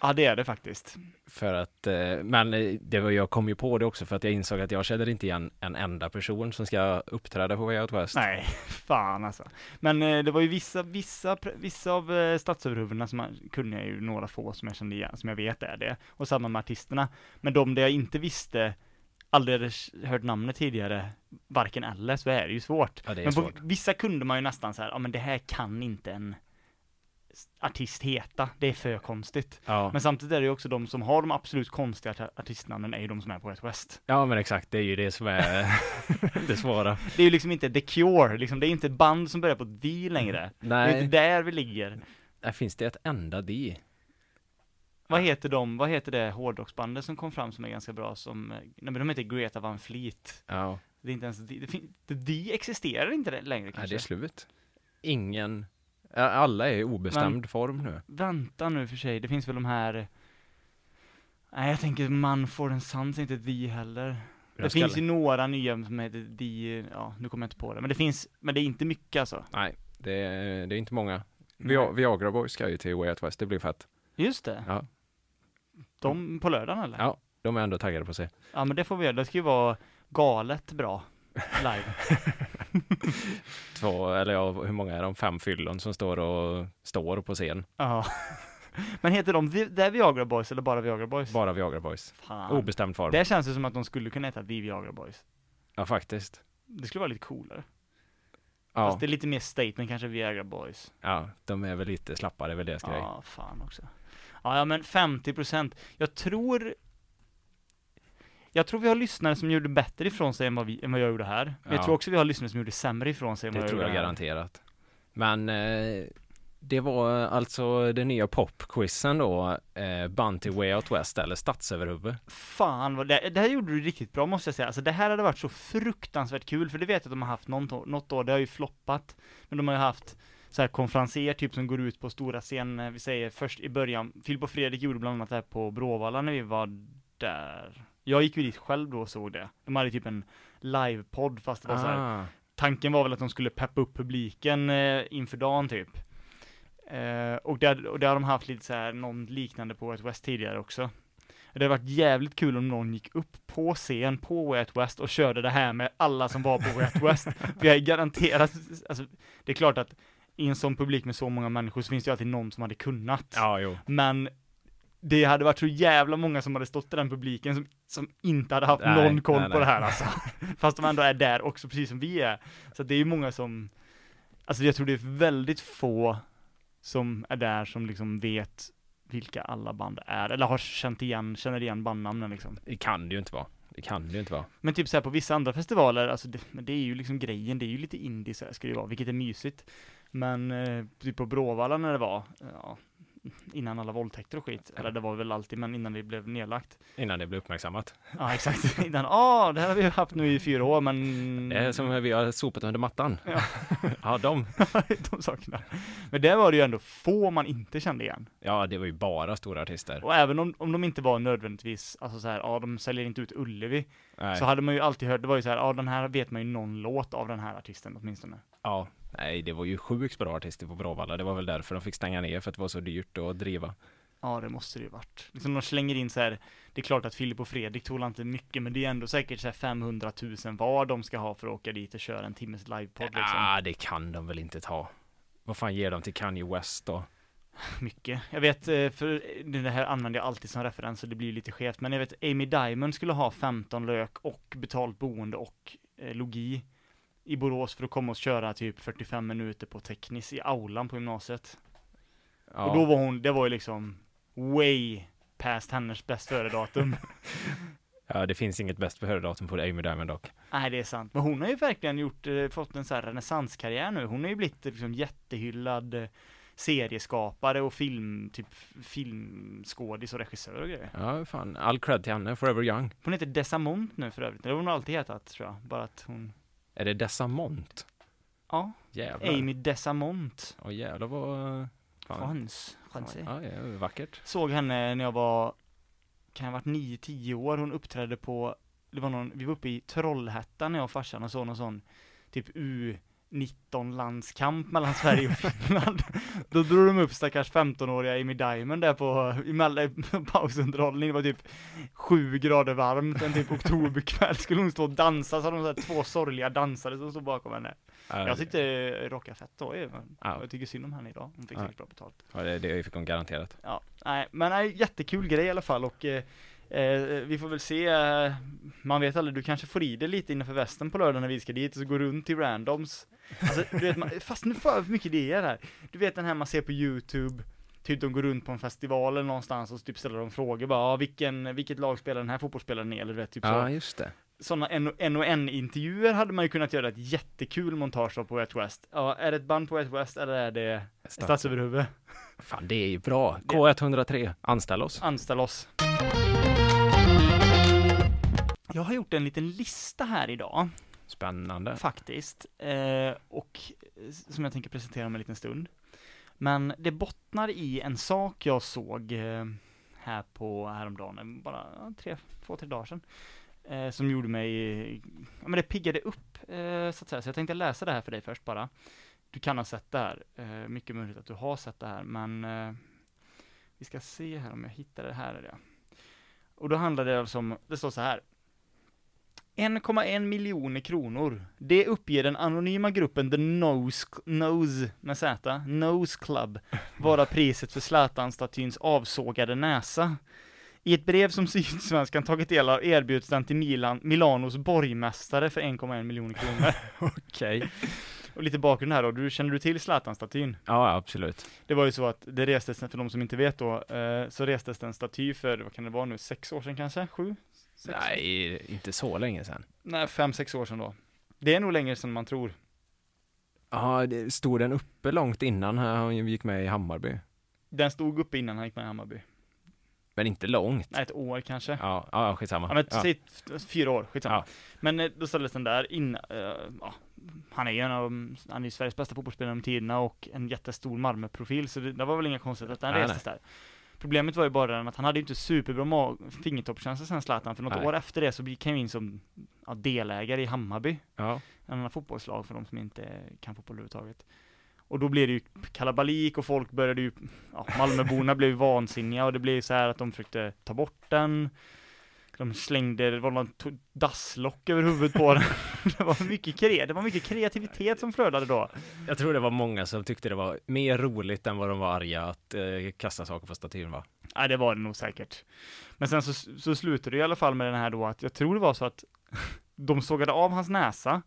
Speaker 3: Ja det är det faktiskt.
Speaker 2: För att, eh, men eh, det var, jag kom ju på det också för att jag insåg att jag känner inte igen en enda person som ska uppträda på Way Out West.
Speaker 3: Nej, fan alltså. Men eh, det var ju vissa, vissa, pre- vissa av eh, statsöverhuvudena som man, kunde jag ju några få som jag kände igen, som jag vet är det. Och samma med artisterna. Men de där jag inte visste, aldrig hade s- hört namnet tidigare, varken eller, så är det ju svårt.
Speaker 2: Ja, det är
Speaker 3: men
Speaker 2: svårt.
Speaker 3: på vissa kunde man ju nästan så här, ja men det här kan inte en s- artist heta, det är för konstigt.
Speaker 2: Ja.
Speaker 3: Men samtidigt är det ju också de som har de absolut konstiga art- artistnamnen är ju de som är på West West.
Speaker 2: ja, men exakt, det är ju det som är det svåra.
Speaker 3: Det är ju liksom inte The Cure, liksom. det är inte ett band som börjar på D längre. Det är
Speaker 2: Nej,
Speaker 3: inte där vi ligger.
Speaker 2: där finns det ett enda D.
Speaker 3: Vad heter de, vad heter det hårdrocksbandet som kom fram som är ganska bra som, eh, nej men de heter Greta Van Fleet.
Speaker 2: Ja,
Speaker 3: Det är inte ens, det, det, fin- det, de existerar inte det- längre
Speaker 2: ja
Speaker 3: kanske.
Speaker 2: det är slut. Ingen, ja, alla är i obestämd form nu.
Speaker 3: Vänta nu för sig, det finns väl de här, nej jag tänker Manford and Sons är inte de heller. Det
Speaker 2: Jag ska-
Speaker 3: finns ju några nya som heter de, ja nu kommer jag inte på det, men det finns, men det är inte mycket alltså.
Speaker 2: Nej, det är, det är inte många. Vi, Viagra Boys ska ju till Way Out West, det blir fett.
Speaker 3: Just det.
Speaker 2: Ja.
Speaker 3: De på lördagen eller?
Speaker 2: Ja, de är ändå taggade på sig.
Speaker 3: Ja men det får vi göra, det ska ju vara galet bra live.
Speaker 2: Två, eller ja, hur många är de? Fem fyllon som står och står på scen.
Speaker 3: Ja. Men heter de Vi- The Viagra Boys eller bara Viagra Boys?
Speaker 2: Bara Viagra Boys.
Speaker 3: Fan.
Speaker 2: Obestämd form.
Speaker 3: Det känns ju som att de skulle kunna heta The Viagra Boys.
Speaker 2: Ja, faktiskt.
Speaker 3: Det skulle vara lite coolare.
Speaker 2: Ja,
Speaker 3: Fast det är lite mer statement kanske, Viagra Boys.
Speaker 2: ja, de är väl lite slappare, det är väl deras grej.
Speaker 3: Ja, fan också. Ja, ja men 50%. Jag tror... Jag tror vi har lyssnare som gjorde bättre ifrån sig än vad, vi, än vad jag gjorde här. Men jag
Speaker 2: Ja.
Speaker 3: tror också vi har lyssnare som gjorde sämre ifrån sig än vad
Speaker 2: Det
Speaker 3: jag
Speaker 2: tror
Speaker 3: gjorde
Speaker 2: jag
Speaker 3: här.
Speaker 2: garanterat. Men eh, det var alltså den nya popquizen då, eh, Bunty Way Out West eller Statsöverhuvud.
Speaker 3: Fan vad det, det här gjorde du riktigt bra måste jag säga. Alltså det här hade varit så fruktansvärt kul, för det vet jag att de har haft någon, to- något år, det har ju floppat. Men de har ju haft så här konferenser typ som går ut på stora scener, vi säger först i början, Filip och Fredrik gjorde bland annat det här på Bråvalla när vi var där. Jag gick ju dit själv då och såg det. De hade typ en livepodd fast det var
Speaker 2: Ah.
Speaker 3: så här tanken var väl att de skulle peppa upp publiken eh, inför dagen typ. Eh, och, där, och där har de haft lite så här, någon liknande på Way Out West tidigare också. Det hade varit jävligt kul om någon gick upp på scen på Way Out West och körde det här med alla som var på Way Out West. Vi har garanterat, alltså, det är klart att i en sån publik med så många människor så finns det ju alltid någon som hade kunnat.
Speaker 2: Ja, jo.
Speaker 3: Men det hade varit så jävla många som hade stått i den publiken som, som inte hade haft
Speaker 2: Nej,
Speaker 3: någon koll
Speaker 2: nej,
Speaker 3: på
Speaker 2: nej.
Speaker 3: det här alltså. Fast de ändå är där också, precis som vi är. Så det är ju många som, alltså jag tror det är väldigt få som är där som liksom vet vilka alla band är, eller har känt igen, känner igen bandnamnen liksom.
Speaker 2: Det kan det ju inte vara. Det kan det ju inte vara.
Speaker 3: Men typ så här på vissa andra festivaler, alltså det, men det är ju liksom grejen, det är ju lite indie så här ska det ju vara, vilket är mysigt. Men eh, typ på Bråvalla när det var, ja, innan alla våldtäkter och skit, eller det var väl alltid, men innan det blev nedlagt.
Speaker 2: Innan det blir uppmärksammat.
Speaker 3: Ja exakt, innan, ah det här har vi haft nu i fyra år men...
Speaker 2: Det är som vi har sopat under mattan.
Speaker 3: Mm. Ja.
Speaker 2: ja, de.
Speaker 3: de sakerna. Men där var det ju ändå få man inte kände igen.
Speaker 2: Ja, det var ju bara stora artister.
Speaker 3: Och även om, om de inte var nödvändigtvis, alltså så här, ja de säljer inte ut Ullevi,
Speaker 2: Nej.
Speaker 3: så hade man ju alltid hört, det var ju så här, ja den här vet man ju någon låt av den här artisten åtminstone.
Speaker 2: Ja, nej, det var ju sjukt bra artister på Bråvalla. Det var väl därför de fick stänga ner, för att det var så dyrt att driva.
Speaker 3: Ja, det måste det ju varit. Liksom de slänger in så här, det är klart att Filip och Fredrik tog inte mycket, men det är ändå säkert så här 500 000 var de ska ha för att åka dit och köra en timmes livepodd liksom.
Speaker 2: Ah, det kan de väl inte ta. Vad fan ger de till Kanye West då?
Speaker 3: Mycket. Jag vet, eh, för det här använder jag alltid som referens så det blir ju lite skevt, men jag vet Amy Diamond skulle ha 15 lök och betalt boende och eh, logi i Borås för att komma och köra typ 45 minuter på teknis i aulan på gymnasiet.
Speaker 2: Ja,
Speaker 3: Och då var hon, det var ju liksom way past hennes bäst före datum.
Speaker 2: Ja, det finns inget bäst före-datum på Amy Diamond dock.
Speaker 3: Nej, det är sant. Men hon har ju verkligen gjort, eh, fått en sån här renässanskarriär nu. Hon har ju blivit eh, liksom jättehyllad eh, serieskapare och film, typ filmskådis och regissör och grejer.
Speaker 2: Ja, fan. All cred till henne, Forever Young.
Speaker 3: Hon heter Desamont nu för övrigt. Det har hon alltid hetat tror jag. Bara att hon,
Speaker 2: Är det Desamont?
Speaker 3: ja,
Speaker 2: Jävlar.
Speaker 3: Amy Desamont.
Speaker 2: Åh jävlar vad... Fan.
Speaker 3: Chans, chansi.
Speaker 2: Ja, ja, vackert.
Speaker 3: Såg henne när jag var, kan jag ha varit 9-10 år, hon uppträdde på, det var någon, vi var uppe i Trollhättan när jag och farsan och såg någon sån, typ U19-landskamp mellan Sverige och Finland. Då drog de upp stackars 15-åriga Amy Diamond där på, i mell- pausunderhållning, det var typ 7 grader varmt en typ oktoberkväll, skulle hon stå och dansa så hade de så här två sorgliga dansare som stod bakom henne.
Speaker 2: Ja,
Speaker 3: Jag tyckte det rockade fett då ju, men
Speaker 2: Ja.
Speaker 3: jag tycker synd om henne idag, hon fick
Speaker 2: Ja.
Speaker 3: säkert bra betalt.
Speaker 2: ja, det, det fick hon garanterat.
Speaker 3: Ja, nej, men nej, jättekul grej i alla fall och eh, eh, vi får väl se, eh, man vet aldrig, du kanske får i dig lite innanför västen på lördag när vi ska dit och så går runt till randoms. Alltså, du vet, man, fast nu får jag för mycket idéer här. Du vet den här man ser på YouTube, typ de går runt på en festival eller någonstans och så typ ställer de frågor bara, ah, vilken, vilket lag spelar den här fotbollsspelaren i? Eller du vet, typ så.
Speaker 2: just det.
Speaker 3: Sådana en och- en och en intervjuer hade man ju kunnat göra ett jättekul montage av på Wet West. Ja, är det ett band på Wet West eller är det stadsöverhuvud?
Speaker 2: Fan, det är ju bra. K103, anställ oss.
Speaker 3: Anställ oss. Jag har gjort en liten lista här idag,
Speaker 2: Spännande.
Speaker 3: faktiskt, eh, och eh, som jag tänker presentera om en liten stund. Men det bottnar i en sak jag såg eh, här på häromdagen, eh, bara ja, tre, två, tre dagar sedan, eh, som gjorde mig, ja men det piggade upp, eh, så att säga, så jag tänkte läsa det här för dig först bara. Du kan ha sett det här, eh, mycket möjligt att du har sett det här, men eh, vi ska se här om jag hittar det här. Är det. Och då handlar det alltså om, det står så här. 1,1 miljoner kronor. Det uppger den anonyma gruppen The Nose, Nose med Z, Nose Club, vara priset för Zlatan-statyns avsågade näsa. I ett brev som Sydsvenskan tagit del av erbjuds den till Milan, Milanos borgmästare för 1,1 miljoner kronor.
Speaker 2: Okej.
Speaker 3: Och lite bakgrund här då, du, känner du till Zlatan-statyn?
Speaker 2: Ja, absolut.
Speaker 3: Det var ju så att det restes, för de som inte vet då, eh, så restes det en staty för, vad kan det vara nu, sex år sedan kanske? Sju? Sex?
Speaker 2: Nej, inte så länge sedan.
Speaker 3: Nej, fem, sex år sedan då. Det är nog längre sedan man tror.
Speaker 2: Ja, det- stod den uppe långt innan han gick med i Hammarby?
Speaker 3: Den stod uppe innan han gick med i Hammarby.
Speaker 2: Men inte långt.
Speaker 3: Nej, ett år kanske.
Speaker 2: Ja, ja,
Speaker 3: Ja,
Speaker 2: skitsamma.
Speaker 3: men
Speaker 2: ja.
Speaker 3: säg f- fyra år, skitsamma.
Speaker 2: Ja.
Speaker 3: Men eh, då ställdes den där in, eh, ja, han är ju en av de, han är ju Sveriges bästa fotbollsspelare genom tiderna och en jättestor Malmöprofil, så det, det var väl inga konstigheter att han
Speaker 2: Nej,
Speaker 3: restes där. Problemet var ju bara den att han hade ju inte superbra ma- fingertoppskänsla sen Zlatan, för något
Speaker 2: Nej.
Speaker 3: år efter det så gick han ju in som ja, delägare i Hammarby,
Speaker 2: ja.
Speaker 3: en annan fotbollslag för de som inte kan fotboll överhuvudtaget. Och då blev det ju kalabalik och folk började ju, ja, Malmöborna blev ju vansinniga och det blev ju så här att de försökte ta bort den. De slängde, det var någon to- dasslock över huvudet på den. Det var mycket, kre- det var mycket kreativitet som flödade då.
Speaker 2: Jag tror det var många som tyckte det var mer roligt än vad de var arga att eh, kasta saker på statyn va?
Speaker 3: Nej, det var det nog säkert. Men sen så, så slutade det i alla fall med den här då att jag tror det var så att de sågade av hans näsa.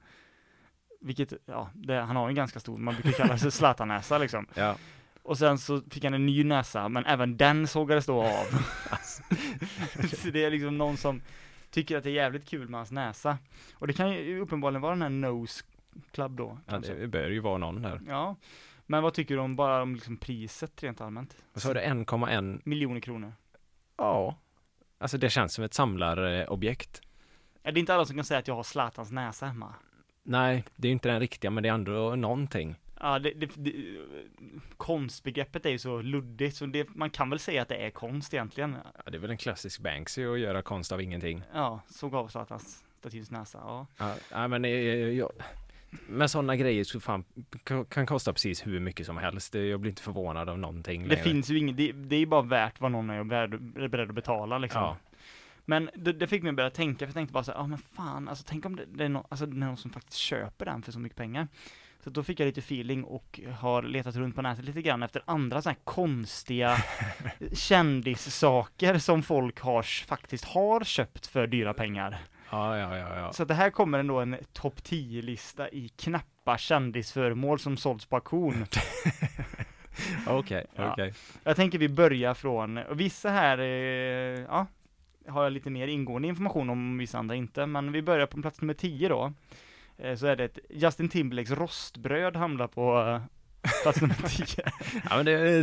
Speaker 3: Vilket, ja, det, han har ju en ganska stor, man brukar kalla sig Zlatan-näsa liksom.
Speaker 2: Ja.
Speaker 3: Och sen så fick han en ny näsa, men även den sågades då av. Alltså. så det är liksom någon som tycker att det är jävligt kul med hans näsa. Och det kan ju uppenbarligen vara den här Nose Club då.
Speaker 2: ja
Speaker 3: kanske.
Speaker 2: det bör ju vara någon där.
Speaker 3: ja. Men vad tycker du om bara om liksom priset rent allmänt?
Speaker 2: Vad sa du, 1,1?
Speaker 3: Miljoner kronor.
Speaker 2: Ja. Alltså det känns som ett samlarobjekt.
Speaker 3: Ja, det är inte alla som kan säga att jag har Zlatans näsa hemma.
Speaker 2: Nej, det är ju inte den riktiga men det är ändå någonting.
Speaker 3: Ja, det, det, det, konstbegreppet är ju så luddigt, så det, man kan väl säga att det är konst egentligen.
Speaker 2: Ja, det är väl en klassisk Banksy att göra konst av ingenting.
Speaker 3: Ja, såg av Zlatans statyns näsa, ja.
Speaker 2: Ja, nej, men eh, jag... Men sådana grejer så fan, kan- kan kosta precis hur mycket som helst. Det- Jag blir inte förvånad av någonting
Speaker 3: Det
Speaker 2: längre.
Speaker 3: finns ju inget, det, det är ju bara värt vad någon är beredd, är beredd att betala liksom.
Speaker 2: Ja.
Speaker 3: Men det, det fick mig att börja tänka, för jag tänkte bara så här, ja men fan, alltså tänk om det, det är någon, alltså, det är någon som faktiskt köper den för så mycket pengar. Så då fick jag lite feeling och har letat runt på nätet lite grann efter andra sådana här konstiga kändissaker som folk har, faktiskt har köpt för dyra pengar.
Speaker 2: Ja, ja, ja, ja.
Speaker 3: Så att det här kommer ändå en topp 10-lista i knappa kändisföremål som sålts på auktion.
Speaker 2: Okej,
Speaker 3: Ja.
Speaker 2: okej.
Speaker 3: Jag tänker vi börjar från, och vissa här, eh, ja, har jag lite mer ingående information om vissa andra inte, men vi börjar på plats nummer 10 då. Eh, Så är det ett Justin Timberlakes rostbröd hamnar på eh, plats nummer 10.
Speaker 2: Ja, men det,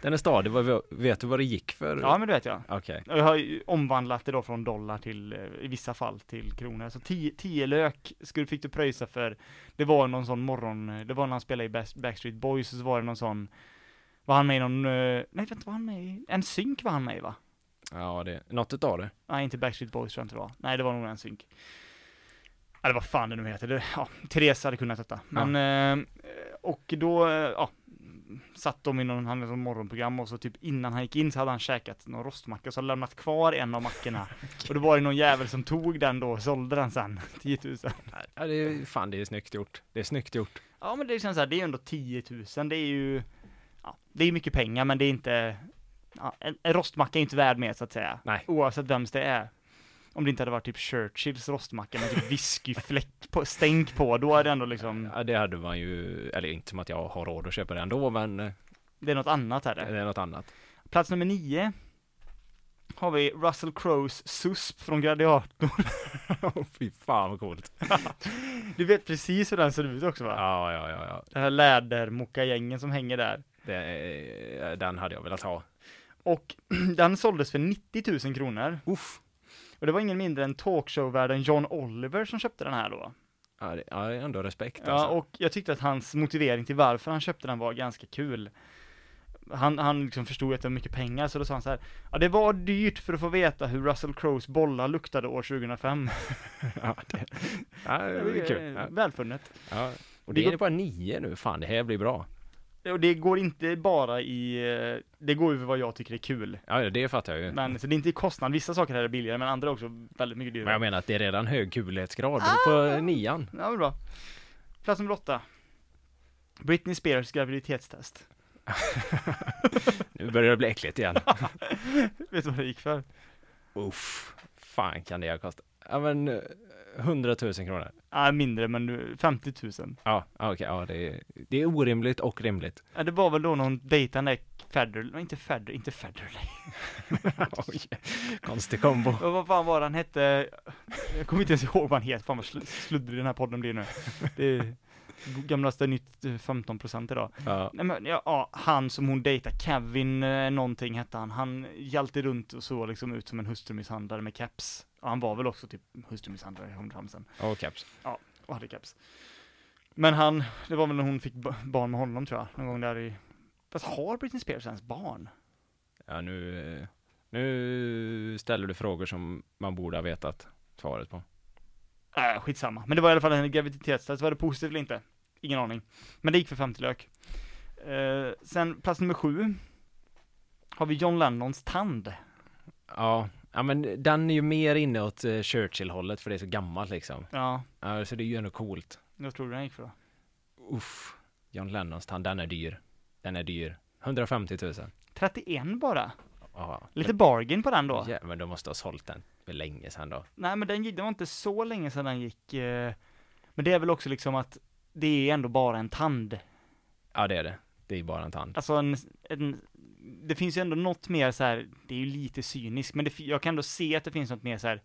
Speaker 2: den är stadig. Vad- Vet du vad det gick för?
Speaker 3: Ja, men det vet jag.
Speaker 2: Okej.
Speaker 3: Och Jag har ju omvandlat det då från dollar till, eh, i vissa fall, till kronor. Så 10 lök skulle, fick du pröjsa för, det var någon sån morgon, eh, det var när han spelade i Back- Backstreet Boys, och så var det någon sån, var han med i någon, eh, nej vänta, var han med i, en synk var han med i va?
Speaker 2: Ja, det, något utav det.
Speaker 3: Nej, inte Backstreet Boys tror jag inte det var. Nej, det var nog en synk. Eller vad fan det nu heter. Det, ja, Therese hade kunnat detta. Men, eh, och då, eh, ja, satt de i någon, han hade någon morgonprogram och så typ innan han gick in så hade han käkat någon rostmacka, så hade han lämnat kvar en av mackorna. Och då var det någon jävel som tog den då och sålde den sen, 10 000.
Speaker 2: Ja, det är, fan, det är snyggt gjort. Det är snyggt gjort.
Speaker 3: Ja men det känns såhär, det är ju ändå 10 000, det är ju, ja, det är mycket pengar men det är inte, ja, en, en rostmacka är inte värd mer så att säga.
Speaker 2: Nej.
Speaker 3: Oavsett vems det är. Om det inte hade varit typ Churchills rostmacka med typ whiskyfläck på, stänk på, då är det ändå liksom,
Speaker 2: Ja, det hade man ju, eller inte som att jag har råd att köpa det ändå, men eh,
Speaker 3: det är något annat här.
Speaker 2: det
Speaker 3: där.
Speaker 2: är något annat.
Speaker 3: Plats nummer nio har vi Russell Crowes susp från Gladiator.
Speaker 2: Åh, Fy fan vad coolt.
Speaker 3: Du vet precis hur den ser ut också va?
Speaker 2: Ja, ja, ja, ja.
Speaker 3: Det här lädermokagängen som hänger där.
Speaker 2: Det, eh, den hade jag velat ha.
Speaker 3: Och den såldes för 90 000 kronor.
Speaker 2: Uff.
Speaker 3: Och det var ingen mindre än talkshow-värden John Oliver som köpte den här då.
Speaker 2: Ja, det, ja, ändå respekt
Speaker 3: Ja,
Speaker 2: alltså.
Speaker 3: och jag tyckte att hans motivering till varför han köpte den var ganska kul. Han, han liksom förstod att det var mycket pengar, så då sa han så här, ja det var dyrt för att få veta hur Russell Crowes bollar luktade år 2005.
Speaker 2: ja, det, ja, det är kul. Ja,
Speaker 3: Välfunnet.
Speaker 2: ja. Och
Speaker 3: Det
Speaker 2: det
Speaker 3: går-
Speaker 2: är det bara nio nu, fan det här blir bra.
Speaker 3: Och det går inte bara i, eh, det går över vad jag tycker är kul.
Speaker 2: Ja, ja, det fattar jag ju.
Speaker 3: Men, så det är inte i kostnad, vissa saker här är billigare, men andra är också väldigt mycket
Speaker 2: Men jag
Speaker 3: dyrare.
Speaker 2: menar att det är redan hög kulhetsgrad på nian.
Speaker 3: Ja, men bra. Plats nummer åtta. Britney Spears graviditetstest.
Speaker 2: Nu börjar det bli äckligt igen.
Speaker 3: Vet du vad det gick för?
Speaker 2: Uff, fan kan det ha kostat? Ja men, eh, 100 000 kronor.
Speaker 3: Nej, mindre, men eh, nu- 50 000.
Speaker 2: Ja, ja, okej, ja det är, det är orimligt och rimligt.
Speaker 3: Ja, det var väl då någon dejtande Federley, nej, inte Federley, inte Federley.
Speaker 2: Oj, konstig kombo.
Speaker 3: Och vad fan var det han hette? Jag kommer inte ens ihåg vad han heter, fan vad sl- sluddrig den här podden blir nu. Det är gamlaste nytt eh, 15% idag.
Speaker 2: Ja,
Speaker 3: Nej men ja, ja, han som hon dejtar, Kevin eh, någonting hette han, han hjälpte runt och såg liksom ut som en hustrumisshandlare med keps. Ja, han var väl också typ hustrumisshandlare, 100%.
Speaker 2: och caps.
Speaker 3: och hade keps. Men han, det var väl när hon fick ba- barn med honom tror jag, någon gång där i... Fast har Britney Spears ens barn?
Speaker 2: Ja, nu, eh, nu ställer du frågor som man borde ha vetat svaret på.
Speaker 3: Äh, skitsamma. Men det var i alla fall en graviditetstest, var det positivt eller inte? Ingen aning. Men det gick för 50 lök. Eh, sen plats nummer sju. Har vi John Lennons tand.
Speaker 2: Ja, ja men den är ju mer inne åt eh, Churchill-hållet för det är så gammalt liksom.
Speaker 3: Ja,
Speaker 2: Ja, så det är ju ändå coolt.
Speaker 3: jag tror du den gick för då?
Speaker 2: Uff, John Lennons tand, den är dyr. Den är dyr. 150 000.
Speaker 3: 31 bara.
Speaker 2: Ja,
Speaker 3: Lite bargain på den då.
Speaker 2: Ja, men de måste ha sålt den för länge sedan då.
Speaker 3: Nej men den gick, det var inte så länge sedan den gick. eh, men det är väl också liksom att det är ändå bara en tand.
Speaker 2: Ja, det är det. Det är bara en tand.
Speaker 3: alltså en, en, det finns ju ändå något mer så här, det är ju lite cyniskt, men det, fi- jag kan ändå se att det finns något mer så här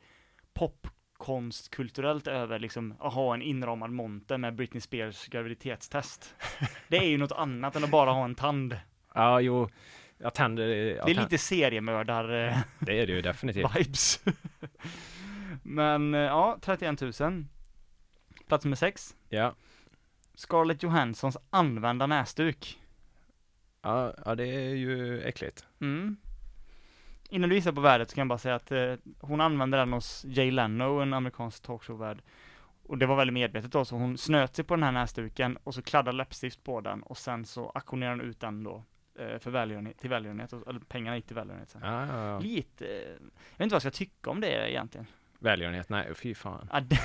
Speaker 3: popkonstkulturellt över liksom, att ha en inramad monter med Britney Spears graviditetstest. Det är ju något annat än att bara ha en tand.
Speaker 2: Ja, jo. Ja, tänder, ja,
Speaker 3: Det är
Speaker 2: tänd-
Speaker 3: lite eh, seriemördar-vibes.
Speaker 2: det är det ju definitivt.
Speaker 3: Men eh, ja, 31 000. Plats nummer 6.
Speaker 2: Ja,
Speaker 3: Scarlett Johanssons använda näsduk.
Speaker 2: ja, ja det är ju äckligt.
Speaker 3: Mm. Innan du gissar på värdet så kan jag bara säga att eh, hon använde den hos Jay Leno, en amerikansk talkshow-värd. Och det var väldigt medvetet då, så hon snöt sig på den här näsduken och så kladdade läppstift på den och sen så auktionerade hon ut den då eh, för välgörenhet, till välgörenhet, och- eller pengarna gick till välgörenhet sen.
Speaker 2: Ja, ja, ja.
Speaker 3: Lite, eh, jag vet inte vad jag ska tycka om det egentligen.
Speaker 2: Välgörenhet, nej fy fan.
Speaker 3: Ja, det,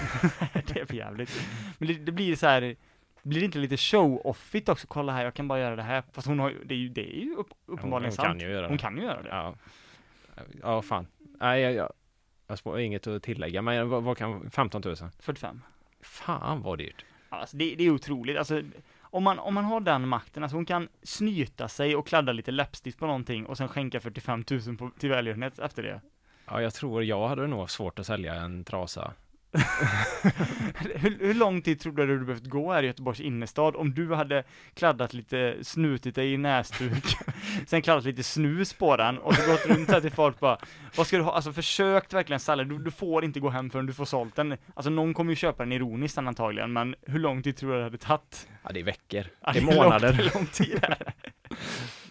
Speaker 3: det är för jävligt. Men det, det blir så här, blir det inte lite show-offigt också? Kolla här, jag kan bara göra det här. Fast hon har ju, det är ju, det är ju upp, uppenbarligen
Speaker 2: Hon kan
Speaker 3: sant.
Speaker 2: ju göra
Speaker 3: Hon
Speaker 2: det.
Speaker 3: kan ju göra det.
Speaker 2: Ja. ja, fan. Nej, jag, jag, jag har inget att tillägga, men vad, vad kan, 15 000?
Speaker 3: 45.
Speaker 2: Fan vad dyrt.
Speaker 3: Alltså, det, det är otroligt, alltså, om, man, om man har den makten, alltså hon kan snyta sig och kladda lite läppstift på någonting och sen skänka 45 000 på, till välgörenhet efter det.
Speaker 2: Ja, jag tror jag hade nog svårt att sälja en trasa.
Speaker 3: hur, hur lång tid tror du att du hade behövt gå här i Göteborgs innerstad om du hade kladdat lite, snutit dig i näsduk, sen kladdat lite snus på den och så gått runt här till folk bara, vad ska du ha, alltså försökt verkligen sälja, du, du får inte gå hem förrän du får sålt den. Alltså någon kommer ju köpa den ironiskt sen antagligen, men hur lång tid tror du det hade tagit?
Speaker 2: Ja, det är veckor.
Speaker 3: Ja,
Speaker 2: Det är
Speaker 3: lång-
Speaker 2: månader.
Speaker 3: det är lång tid här.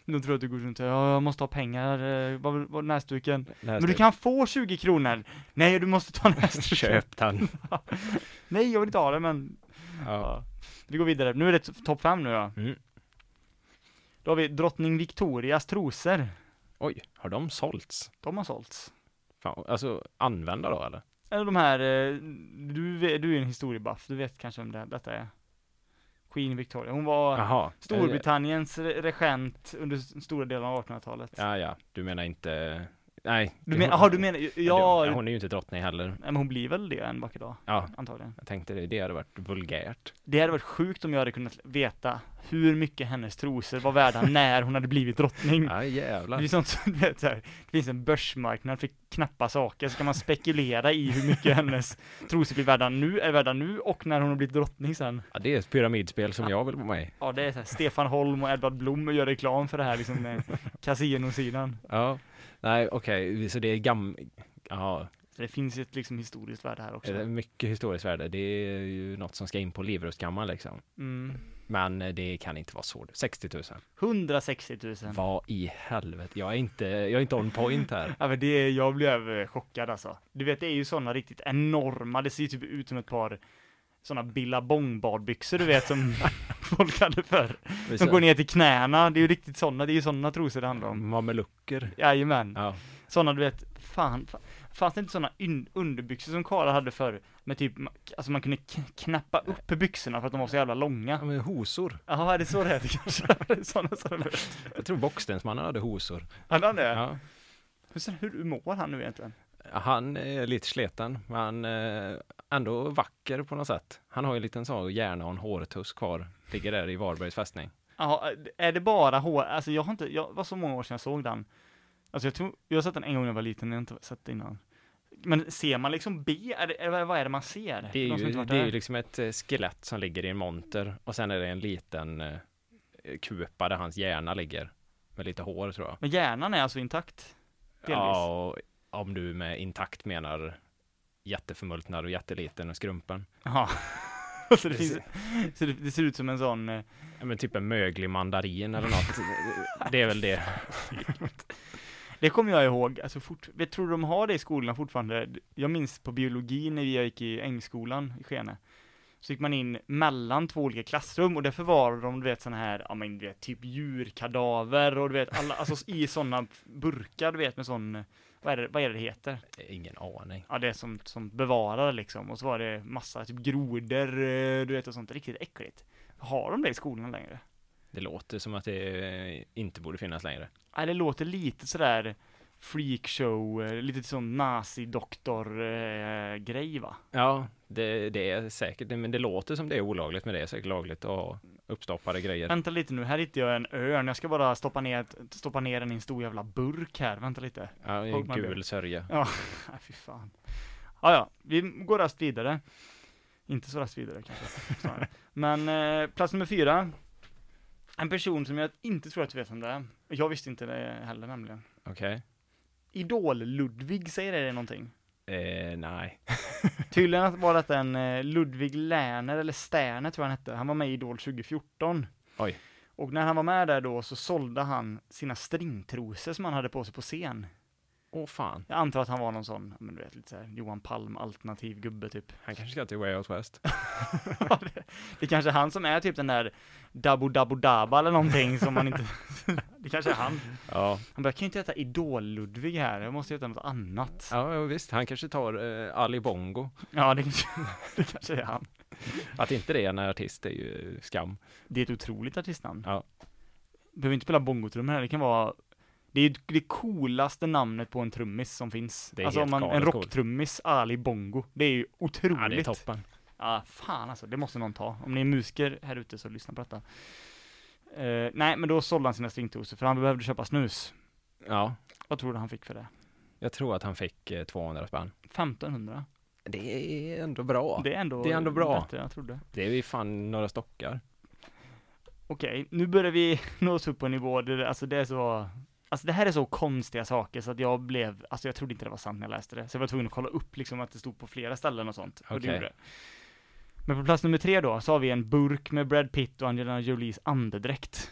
Speaker 3: De tror att du går runt och ja, jag måste ha pengar, eh, vad, vad näsduken? Men du kan få 20 kronor! Nej, du måste ta näsduken!
Speaker 2: Köp den.
Speaker 3: Nej, jag vill inte ha det, men
Speaker 2: Ja.
Speaker 3: Ja. Vi går vidare, nu är det t- topp fem nu ja.
Speaker 2: Mm.
Speaker 3: Då har vi drottning Victorias trosor.
Speaker 2: Oj, har de sålts?
Speaker 3: De har sålts.
Speaker 2: Fan, alltså använda då eller?
Speaker 3: Eller de här, eh, du, ve- du är en historiebuff, du vet kanske vem det, detta är. Queen Victoria, hon var
Speaker 2: Jaha.
Speaker 3: Storbritanniens re- regent under s- stora delar av 1800-talet.
Speaker 2: Ja, ja, du menar inte, nej.
Speaker 3: Du
Speaker 2: det-
Speaker 3: men, aha, du menar,
Speaker 2: Ja,
Speaker 3: ja,
Speaker 2: Hon är ju inte drottning heller.
Speaker 3: nej, men hon blir väl det en vacker dag,
Speaker 2: Ja,
Speaker 3: antagligen.
Speaker 2: jag tänkte det, det hade varit vulgärt.
Speaker 3: Det hade varit sjukt om jag hade kunnat veta hur mycket hennes trosor var värda när hon hade blivit drottning.
Speaker 2: Ja, jävlar.
Speaker 3: Det är sånt som, du vet, så här, det finns en börsmarknad för knappa saker, så kan man spekulera i hur mycket hennes trosor blir värda nu, är värda nu och när hon har blivit drottning sen.
Speaker 2: Ja, det är ett pyramidspel som jag vill vara med i.
Speaker 3: Ja, det är så här, Stefan Holm och Edvard Blom gör reklam för det här liksom, eh, kasinosidan.
Speaker 2: Ja, nej okej, så det är gam... Ja,
Speaker 3: Så det finns ju ett liksom historiskt värde här också.
Speaker 2: det är mycket historiskt värde. Det är ju något som ska in på Leveröskammaren liksom.
Speaker 3: Mm.
Speaker 2: Men eh, det kan inte vara så. 60 000.
Speaker 3: 160 000.
Speaker 2: Vad i helvete, jag är inte, jag är inte on point här.
Speaker 3: Ja men det, är- jag blev eh, chockad alltså. Du vet, det är ju sådana riktigt enorma, det ser ju typ ut som ett par sådana billabong-badbyxor du vet som folk hade förr. Som går ner till knäna, det är ju riktigt sådana, det är ju sådana trosor det handlar om.
Speaker 2: Mm, Mamelucker.
Speaker 3: Jajamän.
Speaker 2: Ja,
Speaker 3: Sådana du vet, fan, fan. Fanns det inte sådana un- underbyxor som karlar hade förr? Med typ, ma- alltså man kunde k- knäppa upp byxorna för att de var så jävla
Speaker 2: Ja,
Speaker 3: långa.
Speaker 2: men hosor.
Speaker 3: Jaha, är det så det heter kanske? sådana som
Speaker 2: Jag tror Bockstensmannen hade hosor.
Speaker 3: Hade han det?
Speaker 2: Ja.
Speaker 3: Hur, ser- hur mår han nu egentligen?
Speaker 2: Han är lite sleten, men eh, ändå vacker på något sätt. Han har ju en liten sån hjärna och en hårtuss kvar. Ligger där i Varbergs fästning.
Speaker 3: Jaha, är det bara hår? Alltså jag har inte, jag var så många år sedan jag såg den. Alltså jag tror, jag har sett den en gång när jag var liten, jag har inte sett den innan. Men ser man liksom B, är det, eller vad är det man ser?
Speaker 2: Det
Speaker 3: För de
Speaker 2: är,
Speaker 3: som
Speaker 2: ju,
Speaker 3: inte varit
Speaker 2: det är
Speaker 3: där.
Speaker 2: ju liksom ett eh, skelett som ligger i en monter och sen är det en liten eh, kupa där hans hjärna ligger. Med lite hår tror jag.
Speaker 3: Men hjärnan är alltså intakt? Delvis.
Speaker 2: Ja, och om du med intakt menar jätteförmultnad och jätteliten och skrumpen.
Speaker 3: Jaha. så det, finns, så det, det ser ut som en sån, eh,
Speaker 2: Ja, men typ en möglig mandarin eller något. det är väl det.
Speaker 3: det kommer jag ihåg, alltså fort, vet, tror du de har det i skolorna fortfarande? Jag minns på biologi när jag gick i Ängskolan i Skene, så gick man in mellan två olika klassrum och där förvarade de, du vet, såna här, ja men du vet, typ djurkadaver och du vet, alla, alltså i sådana burkar, du vet, med sån, vad är det, vad är det det heter?
Speaker 2: Ingen aning.
Speaker 3: Ja, det är som, som bevarade liksom, och så var det massa typ grodor, eh, du vet, och sånt, riktigt äckligt. Har de det i skolan längre?
Speaker 2: Det låter som att det eh, inte borde finnas längre.
Speaker 3: Ja, Äh, det låter lite sådär freakshow, eh, lite sån nazidoktor-grej va?
Speaker 2: Ja, det, det är säkert, men det låter som det är olagligt, men det är säkert lagligt att ha uppstoppade grejer.
Speaker 3: Vänta lite nu, här hittade jag en örn, jag ska bara stoppa ner, stoppa ner den i en stor jävla burk här, vänta lite.
Speaker 2: Ja, en
Speaker 3: Håll med
Speaker 2: gul
Speaker 3: det.
Speaker 2: sörja.
Speaker 3: Nej fy fan. Ja, ja, vi går rast vidare. Inte så rast vidare kanske, snarare. Men eh, plats nummer fyra. En person som jag inte tror att du vet vem det är. Jag visste inte det heller nämligen.
Speaker 2: Okej.
Speaker 3: Idol-Ludvig, säger det dig någonting?
Speaker 2: Eh, nej.
Speaker 3: Tydligen var detta en eh, Ludvig Lerner, eller Sterner tror jag han hette. Han var med i Idol 2014.
Speaker 2: Oj.
Speaker 3: Och när han var med där då så sålde han sina stringtrosor som han hade på sig på scen.
Speaker 2: Åh fan.
Speaker 3: Jag antar att han var någon sån, men du vet lite såhär Johan Palm alternativ gubbe typ.
Speaker 2: Han kanske ska till Way Out West.
Speaker 3: det, det kanske är han som är typ den där Dabo Dabo Daba eller någonting som man inte... det kanske är han.
Speaker 2: Ja.
Speaker 3: Han bara, jag kan ju inte heta Idol-Ludvig här, jag måste heta något annat.
Speaker 2: ja, jo, visst. Han kanske tar eh, Ali Bongo.
Speaker 3: Ja, det kanske, det kanske är han.
Speaker 2: Att inte det är en artist är ju eh, skam.
Speaker 3: Det är ett otroligt artistnamn.
Speaker 2: Ja.
Speaker 3: Behöver inte spela bongotrummor här, det kan vara det är ju det coolaste namnet på en trummis som finns.
Speaker 2: Det är
Speaker 3: alltså
Speaker 2: helt
Speaker 3: om man, en
Speaker 2: galet coolt.
Speaker 3: rocktrummis, Ali Bongo. Det är ju otroligt.
Speaker 2: Ja, det är toppen.
Speaker 3: Ja, fan alltså, det måste någon ta. Om ni är musiker här ute så lyssna på detta. Eh, nej, men då sålde han sina stringtrosor för han behövde köpa snus.
Speaker 2: Ja.
Speaker 3: Vad tror du han fick för det?
Speaker 2: Jag tror att han fick eh, 200 spänn.
Speaker 3: 1500.
Speaker 2: Det är ändå bra. Det,
Speaker 3: Det är ändå,
Speaker 2: det är ändå bra.
Speaker 3: bättre än jag trodde.
Speaker 2: är ju fan några stockar.
Speaker 3: Okej, nu börjar vi nå oss upp på en nivå där det, alltså det är så Alltså det här är så konstiga saker så att jag blev, alltså jag trodde inte det var sant när jag läste det. Så jag var tvungen att kolla upp liksom att det stod på flera ställen och sånt. Och det
Speaker 2: Okej.
Speaker 3: gjorde det. Men på plats nummer tre då, så har vi en burk med Brad Pitt och Angelina Jolies andedräkt.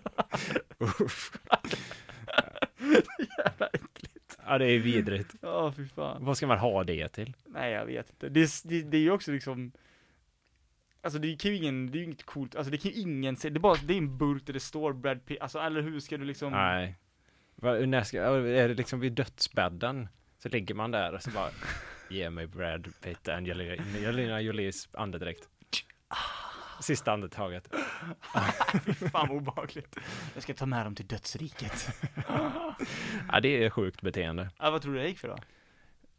Speaker 2: Ja, det är vidrigt.
Speaker 3: Ja, fy fan.
Speaker 2: Vad ska man ha det till?
Speaker 3: Nej, jag vet inte. Det, är- det, det är ju också liksom Alltså det kan ju ingen, det är ju inget coolt, alltså det kan ju ingen se, det är bara, det är en burk där det står Brad Pitt, alltså eller hur ska du liksom
Speaker 2: Nej. Va, när ska, ja, är det liksom vid dödsbädden? Så ligger man där och så bara Ge mig Brad Pitt, Angelina, Angelina Jolies andedräkt. Sista andetaget.
Speaker 3: Fan vad obehagligt. Jag ska ta med dem till dödsriket.
Speaker 2: Ja, det är sjukt beteende.
Speaker 3: Ja, vad tror du det gick för då?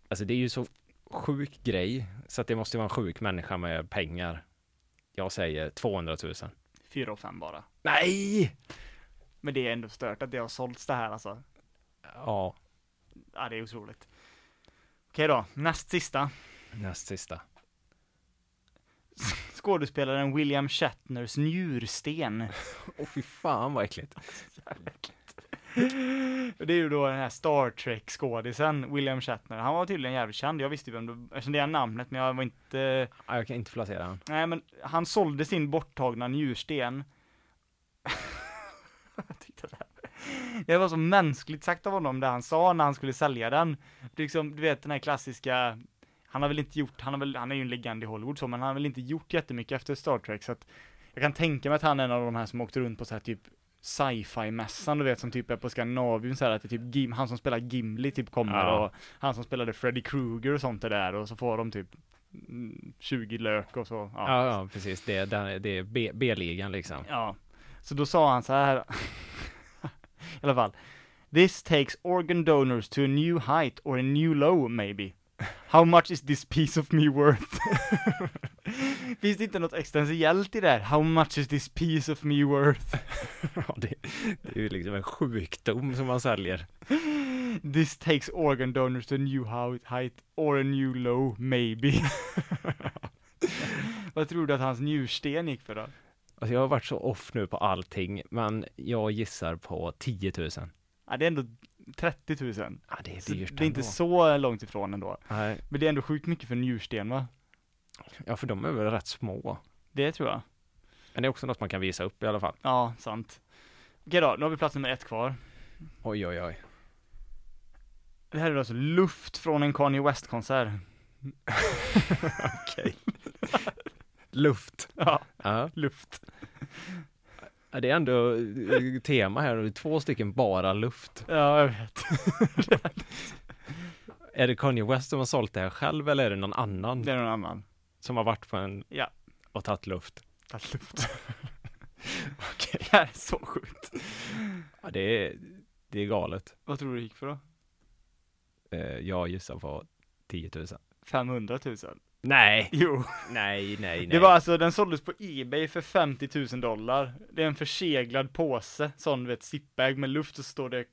Speaker 2: Alltså det är ju så sjuk grej, så att det måste vara en sjuk människa med pengar. Jag säger 200 000.
Speaker 3: Fyra och fem bara.
Speaker 2: Nej!
Speaker 3: Men det är ändå stört att det har sålts det här alltså.
Speaker 2: Ja,
Speaker 3: Ja, det är otroligt. Okej då, näst sista.
Speaker 2: näst sista.
Speaker 3: Skådespelaren William Shatners njursten.
Speaker 2: Åh fy fan vad äckligt.
Speaker 3: Och det är ju då den här Star Trek-skådisen, William Shatner. Han var tydligen jävligt känd. Jag visste ju vem det Jag kände igen namnet, men jag var inte...
Speaker 2: Ja, Jag kan inte placera den.
Speaker 3: Nej, men han sålde sin borttagna njursten. jag tyckte det, här. det var så mänskligt sagt av honom, det han sa när han skulle sälja den. Det är Liksom, du vet den här klassiska, han har väl inte gjort, han, har väl, han är ju en legend i Hollywood så, men han har väl inte gjort jättemycket efter Star Trek, så att jag kan tänka mig att han är en av de här som åkte runt på så här typ sci-fi-mässan, du vet, som typ är på Skandinavien så här, att det är typ Gim, han som spelar Gimli typ kommer
Speaker 2: Ja.
Speaker 3: och han som spelade Freddy Krueger och sånt är där och så får de typ mm, 20 lök och så,
Speaker 2: Ja,
Speaker 3: ja.
Speaker 2: ja precis. Det, är- den är- det är B- B-ligan liksom.
Speaker 3: Ja, så då sa han så här, i alla fall. This takes organ donors to a new height or a new low maybe. How much is this piece of me worth? Finns det inte något existentiellt i det här? How much is this piece of me worth?
Speaker 2: Ja, det, det är ju liksom en sjukdom som man säljer.
Speaker 3: This takes organ donors to a new hou- height or a new low maybe. Vad tror du att hans njursten gick för då?
Speaker 2: Alltså jag har varit så off nu på allting, men jag gissar på 10 000.
Speaker 3: Ja, det är ändå 30 000.
Speaker 2: Ja, det är
Speaker 3: Så
Speaker 2: dyrt
Speaker 3: det är inte
Speaker 2: ändå.
Speaker 3: så långt ifrån ändå.
Speaker 2: Nej,
Speaker 3: Men det är ändå sjukt mycket för en njursten va?
Speaker 2: ja, för de är väl rätt små.
Speaker 3: Det tror jag.
Speaker 2: Men det är också något man kan visa upp i alla fall.
Speaker 3: Ja, sant. Okej då, nu har vi plats nummer ett kvar.
Speaker 2: Oj, oj, oj.
Speaker 3: Det här är alltså luft från en Kanye West-konsert.
Speaker 2: Luft.
Speaker 3: Ja,
Speaker 2: Ja.
Speaker 3: luft.
Speaker 2: Ja, Det är ändå eh, tema här nu, två stycken bara luft.
Speaker 3: Ja, jag vet.
Speaker 2: Är det Kanye West som har sålt det här själv eller är det någon annan
Speaker 3: Det är någon annan.
Speaker 2: som har varit på en
Speaker 3: Ja.
Speaker 2: och tagit luft?
Speaker 3: Ta luft. Okej. Det här är så sjukt.
Speaker 2: Ja, det, är, det är galet.
Speaker 3: Vad tror du det gick för då?
Speaker 2: Eh, Jag gissar på 10 000.
Speaker 3: 500 000.
Speaker 2: Nej,
Speaker 3: Jo.
Speaker 2: nej, nej, nej.
Speaker 3: Det var alltså, den såldes på Ebay för 50 000 dollar. Det är en förseglad påse, sån du vet zipbag med luft och så står det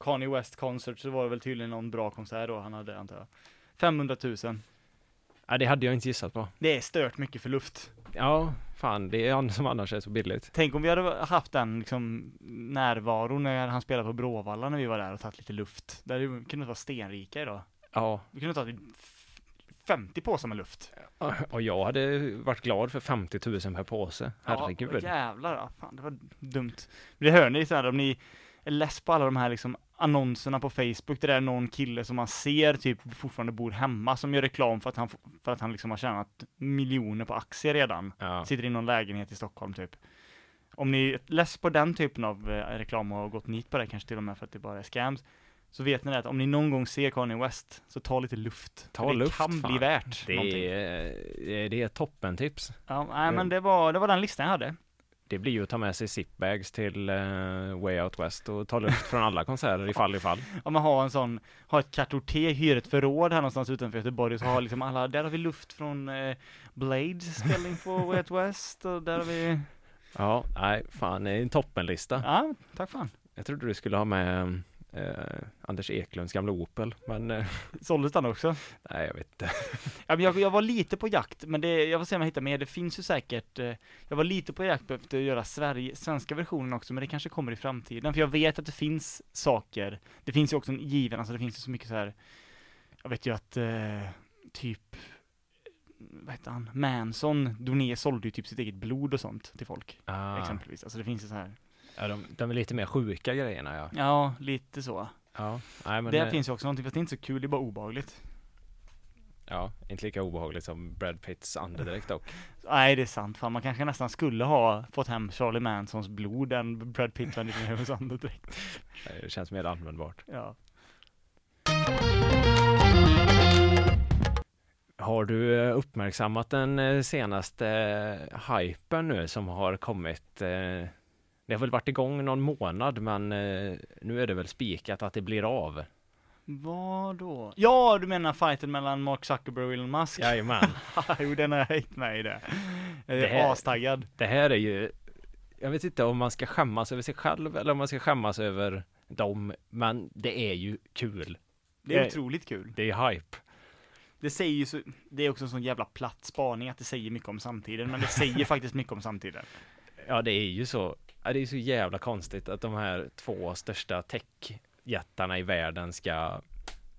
Speaker 3: Kanye West Concert, så var det väl tydligen någon bra konsert då han hade antar jag. 500 000.
Speaker 2: Ja, det hade jag inte gissat på.
Speaker 3: Det är stört mycket för luft.
Speaker 2: Ja, fan, det är an- som annars är så billigt.
Speaker 3: Tänk om vi hade haft den liksom närvaron när han spelade på Bråvalla när vi var där och tagit lite luft. Där kunde vi vara stenrika idag.
Speaker 2: Ja,
Speaker 3: Vi kunde ta f- 50 påsar med luft.
Speaker 2: och jag hade varit glad för 50 000 per påse.
Speaker 3: Ja,
Speaker 2: Herregud.
Speaker 3: jävlar. Ja, fan, det var dumt. Men det hör ni så här om ni är less på alla de här liksom annonserna på Facebook, där det är någon kille som man ser typ fortfarande bor hemma som gör reklam för att han, f- för att han liksom har tjänat miljoner på aktier redan.
Speaker 2: Ja.
Speaker 3: Sitter i någon lägenhet i Stockholm typ. Om ni är less på den typen av eh, reklam och har gått nit på det kanske till och med för att det bara är scams. Så vet ni det att om ni någon gång ser Kanye West, så ta lite luft.
Speaker 2: Ta
Speaker 3: För det
Speaker 2: luft,
Speaker 3: kan
Speaker 2: fan.
Speaker 3: bli värt
Speaker 2: Det
Speaker 3: någonting.
Speaker 2: är, det är toppentips.
Speaker 3: Ja, nej men det var, det var den listan jag hade.
Speaker 2: Det blir ju att ta med sig zipbags till eh, Way Out West och ta luft från alla konserter ifall ifall.
Speaker 3: Om man har en sån, har ett kartotek, hyr ett förråd här någonstans utanför Göteborg, så har liksom alla, där har vi luft från eh, Blades spelning på Way Out West, och där har vi,
Speaker 2: Ja, nej, fan, det är en toppenlista.
Speaker 3: ja, tack fan.
Speaker 2: Jag trodde du skulle ha med eh, Anders Eklunds gamla Opel. Men eh,
Speaker 3: Såldes den också?
Speaker 2: nej, jag vet inte.
Speaker 3: Ja, men jag, jag var lite på jakt, men det, jag får se om jag hittar mer. Det finns ju säkert, eh, jag var lite på jakt efter att göra Sverige, svenska versionen också, men det kanske kommer i framtiden. För jag vet att det finns saker, det finns ju också en given, alltså det finns ju så mycket så här, jag vet ju att eh, typ, vad heter han, Manson, Doné sålde ju typ sitt eget blod och sånt till folk,
Speaker 2: Ah,
Speaker 3: exempelvis. Alltså det finns ju så här,
Speaker 2: ja, de, de är lite mer sjuka grejerna ja.
Speaker 3: ja, lite så.
Speaker 2: ja nej, men,
Speaker 3: det
Speaker 2: eh,
Speaker 3: finns ju också någonting, fast det är inte så kul, det är bara obehagligt.
Speaker 2: Ja, inte lika obehagligt som Brad Pitts andedräkt dock.
Speaker 3: Nej det är sant, fan man kanske nästan skulle ha fått hem Charlie Mansons blod än Brad Pitt var lite nervös andedräkt.
Speaker 2: Det känns mer användbart.
Speaker 3: Ja.
Speaker 2: Har du eh, uppmärksammat den eh, senaste eh, hypen nu som har kommit? eh, Det har väl varit igång någon månad, men eh, nu är det väl spikat att det blir av.
Speaker 3: Vad då? Ja, du menar fighten mellan Mark Zuckerberg och Elon Musk?
Speaker 2: Jajamän.
Speaker 3: jo, den har jag hängt med i det. Jag
Speaker 2: Det
Speaker 3: är
Speaker 2: här-
Speaker 3: astaggad.
Speaker 2: Det här är ju, jag vet inte om man ska skämmas över sig själv eller om man ska skämmas över dem, men det är ju kul.
Speaker 3: Det är
Speaker 2: Det-
Speaker 3: otroligt kul.
Speaker 2: Det är hype.
Speaker 3: Det säger ju så, det är också en sån jävla platt spaning att det säger mycket om samtiden, men det säger faktiskt mycket om samtiden.
Speaker 2: Ja, det är ju så. Ja, det är så jävla konstigt att de här två största techjättarna i världen ska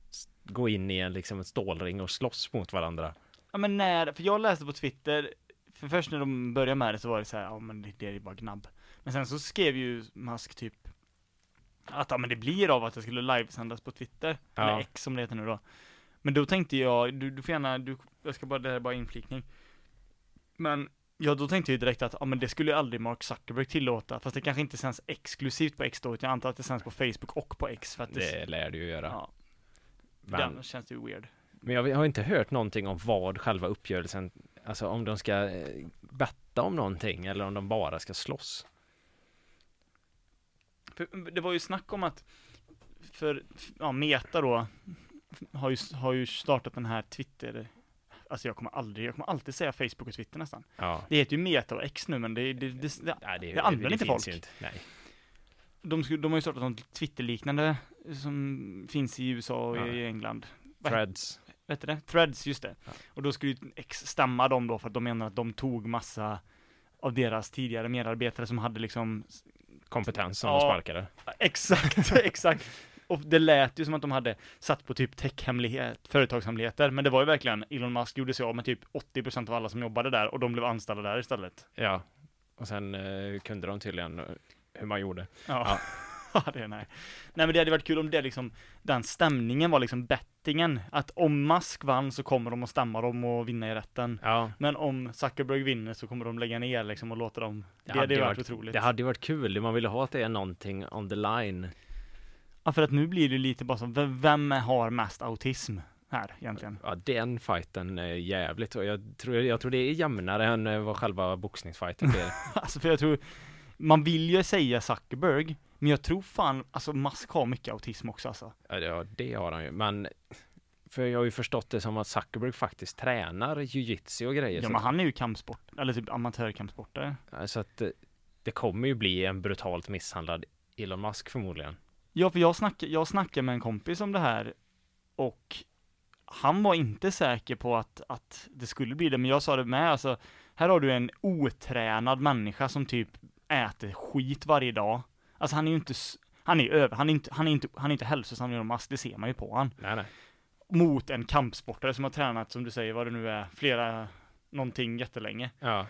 Speaker 2: s- gå in i en liksom en stålring och slåss mot varandra.
Speaker 3: Ja men när, för jag läste på Twitter, för först när de började med det så var det så här, ja men det, det är bara gnabb. Men sen så skrev ju Musk typ att ja men det blir av att det skulle livesändas på Twitter,
Speaker 2: Ja.
Speaker 3: eller X som det heter nu då. Men då tänkte jag, du, du får gärna, du, jag ska bara, det här är bara inflikning. Men, ja då tänkte jag ju direkt att, ja men det skulle ju aldrig Mark Zuckerberg tillåta, fast det kanske inte sänds exklusivt på X då, utan jag antar att det sänds på Facebook och på X för att det,
Speaker 2: Det lär det ju göra.
Speaker 3: ja,
Speaker 2: men,
Speaker 3: den känns det ju weird.
Speaker 2: men jag har inte hört någonting om vad själva uppgörelsen, alltså om de ska eh, betta om någonting eller om de bara ska slåss.
Speaker 3: För Det var ju snack om att, för, ja, Meta då, har ju, har ju startat den här Twitter, alltså jag kommer aldrig, jag kommer alltid säga Facebook och Twitter nästan.
Speaker 2: Ja.
Speaker 3: Det heter ju Meta och X nu men det, det, det, det
Speaker 2: Nej,
Speaker 3: Det använder inte
Speaker 2: finns
Speaker 3: folk.
Speaker 2: ju Inte. Nej.
Speaker 3: de, skulle- de har ju startat något Twitter-liknande som finns i USA och i England. Vad-
Speaker 2: Threads.
Speaker 3: Vad heter det? Threads, just det.
Speaker 2: Ja.
Speaker 3: Och då skulle ju X stämma dem då för att de menar att de tog massa av deras tidigare medarbetare som hade liksom
Speaker 2: Kompetens som
Speaker 3: Ja.
Speaker 2: de sparkade.
Speaker 3: Exakt, exakt. Och det lät ju som att de hade satt på typ techhemlighet, företagshemligheter, men det var ju verkligen Elon Musk gjorde sig av med typ 80% av alla som jobbade där och de blev anställda där istället.
Speaker 2: Ja. Och sen eh, kunde de tydligen eh, hur man gjorde.
Speaker 3: Ja. Ja, det är nej. Nej men det hade varit kul om det liksom, den stämningen var liksom bettingen, att om Musk vann så kommer de att stämma dem och vinna i rätten.
Speaker 2: Ja.
Speaker 3: Men om Zuckerberg vinner så kommer de lägga ner liksom och låta dem, det, hade ju varit, otroligt.
Speaker 2: Det hade ju varit kul, det man ville ha att det är någonting on the line.
Speaker 3: Ja för att nu blir det lite bara som, vem- vem har mest autism här egentligen?
Speaker 2: Ja, den fighten är jävligt och jag tror, jag tror det är jämnare än eh, vad själva boxningsfighten blir.
Speaker 3: Alltså för jag tror, man vill ju säga Zuckerberg, men jag tror fan, alltså Musk har mycket autism också alltså.
Speaker 2: ja, det- ja, det har han ju, men för jag har ju förstått det som att Zuckerberg faktiskt tränar jujitsu och grejer.
Speaker 3: Ja
Speaker 2: så,
Speaker 3: men han är ju kampsport, eller typ amatörkampsportare.
Speaker 2: att- så att eh, det kommer ju bli en brutalt misshandlad Elon Musk förmodligen.
Speaker 3: Ja för jag snackade, jag snackade med en kompis om det här, och han var inte säker på att, att det skulle bli det, men jag sa det med alltså, här har du en otränad människa som typ äter skit varje dag. Alltså han är ju inte, s- han är ju över, han är inte, han är inte, han är inte hälsosam genom Musk, det ser man ju på han.
Speaker 2: Nej, nej.
Speaker 3: mot en kampsportare som har tränat, som du säger, vad det nu är, flera, någonting jättelänge.
Speaker 2: Ja,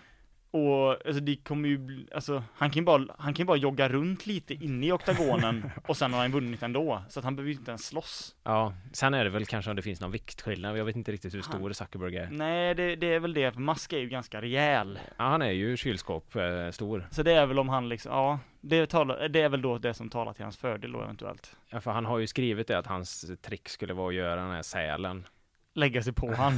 Speaker 3: Och alltså det kommer ju, bli- alltså han kan ju bara, han kan ju bara jogga runt lite inne i oktagonen och sen har han vunnit ändå. Så att han behöver ju inte ens slåss.
Speaker 2: ja. Sen är det väl kanske om det finns någon viktskillnad. Jag vet inte riktigt hur
Speaker 3: Han-
Speaker 2: stor Zuckerberg är.
Speaker 3: Nej, det, det är väl det, för Musk är ju ganska rejäl.
Speaker 2: Ja, han är ju kylskåp eh, stor.
Speaker 3: Så det är väl om han liksom, ja, det, talar, det är väl då det som talar till hans fördel då eventuellt.
Speaker 2: Ja, för han har ju skrivit det att hans trick skulle vara att göra den här sälen.
Speaker 3: Lägga sig på han.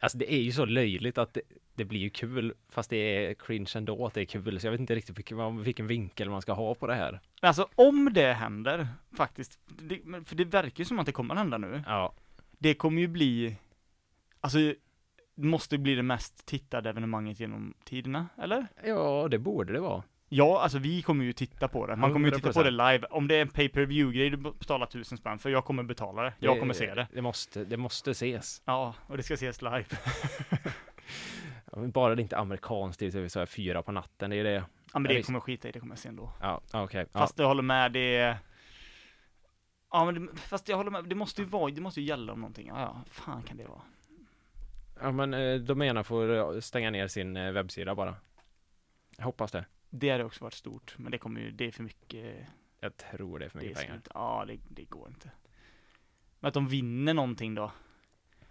Speaker 2: Alltså det är ju så löjligt att det, det blir ju kul, fast det är cringe ändå att det är kul. Så jag vet inte riktigt vilken, vad- vilken vinkel man ska ha på det här.
Speaker 3: Men Alltså om det händer, faktiskt, det, men- för det verkar ju som att det kommer att hända nu.
Speaker 2: Ja,
Speaker 3: det kommer ju bli, alltså det måste bli det mest tittade evenemanget genom tiderna, eller?
Speaker 2: ja det borde det vara.
Speaker 3: Ja, alltså vi kommer ju titta på det. Man kommer ju titta på det
Speaker 2: 100%.
Speaker 3: live. Om det är en pay per view grej du betalar tusen spänn för, jag kommer betala det. Jag kommer se det.
Speaker 2: Det måste, det måste ses.
Speaker 3: Ja, och det ska ses live.
Speaker 2: Bara det inte är amerikanskt, det är typ så här fyra på natten, det är det.
Speaker 3: Ja, men
Speaker 2: Ja,
Speaker 3: det
Speaker 2: visst.
Speaker 3: kommer jag skita i, det kommer jag se ändå.
Speaker 2: Ja, ja, okej. Ja.
Speaker 3: Fast jag håller med, det är... Ja, men det, fast jag håller med, det måste ju vara, det måste ju gälla om någonting. Ja, ja, fan kan det vara?
Speaker 2: ja, men eh, de ena får eh, stänga ner sin eh, webbsida bara. Jag hoppas det.
Speaker 3: Det hade också varit stort, men det kommer ju, det är för mycket.
Speaker 2: Jag tror det är för
Speaker 3: Det är
Speaker 2: mycket pengar.
Speaker 3: slut. Ja, det, det går inte. Men att de vinner någonting då?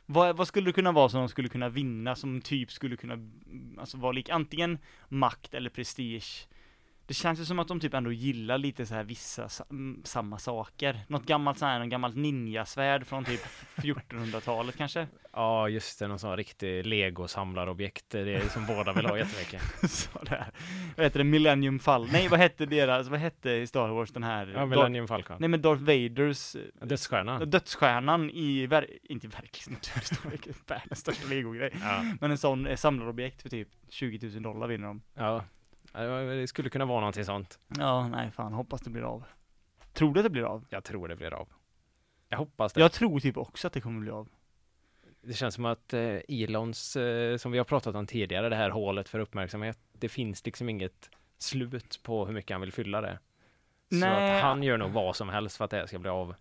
Speaker 3: Vad, vad skulle det kunna vara som de skulle kunna vinna, som typ skulle kunna, mm, alltså vara lik antingen makt eller prestige? Det känns ju som att de typ ändå gillar lite så här vissa, sa- mm, samma saker. Något gammalt så här, något gammalt ninjasvärd från typ 1400-talet kanske?
Speaker 2: Ja, just det. Någon sån riktig lego-samlarobjekt. Det är som båda vill ha jättemycket.
Speaker 3: så där. Vad heter det? Millennium Fall? Nej, vad hette deras, vad hette i Star Wars den här?
Speaker 2: Ja,
Speaker 3: Dar-
Speaker 2: Millennium Falcon.
Speaker 3: Nej men Darth Vaders eh, Ja,
Speaker 2: Dödsstjärnan.
Speaker 3: Dödsstjärnan i, ver- inte i verklig naturhistoria, världens största legogrej.
Speaker 2: Ja.
Speaker 3: Men en sån eh, samlarobjekt för typ 20 000 dollar vinner de.
Speaker 2: ja. Ja, det var- Det skulle kunna vara någonting sånt.
Speaker 3: Ja, nej fan, hoppas det blir av. Tror du att det blir av?
Speaker 2: Jag tror det blir av. Jag hoppas det.
Speaker 3: Jag tror typ också att det kommer bli av.
Speaker 2: Det känns som att eh, Elons, eh, som vi har pratat om tidigare, det här hålet för uppmärksamhet, det finns liksom inget slut på hur mycket han vill fylla det. Så
Speaker 3: Nej.
Speaker 2: att han gör nog vad som helst för att det här ska bli av.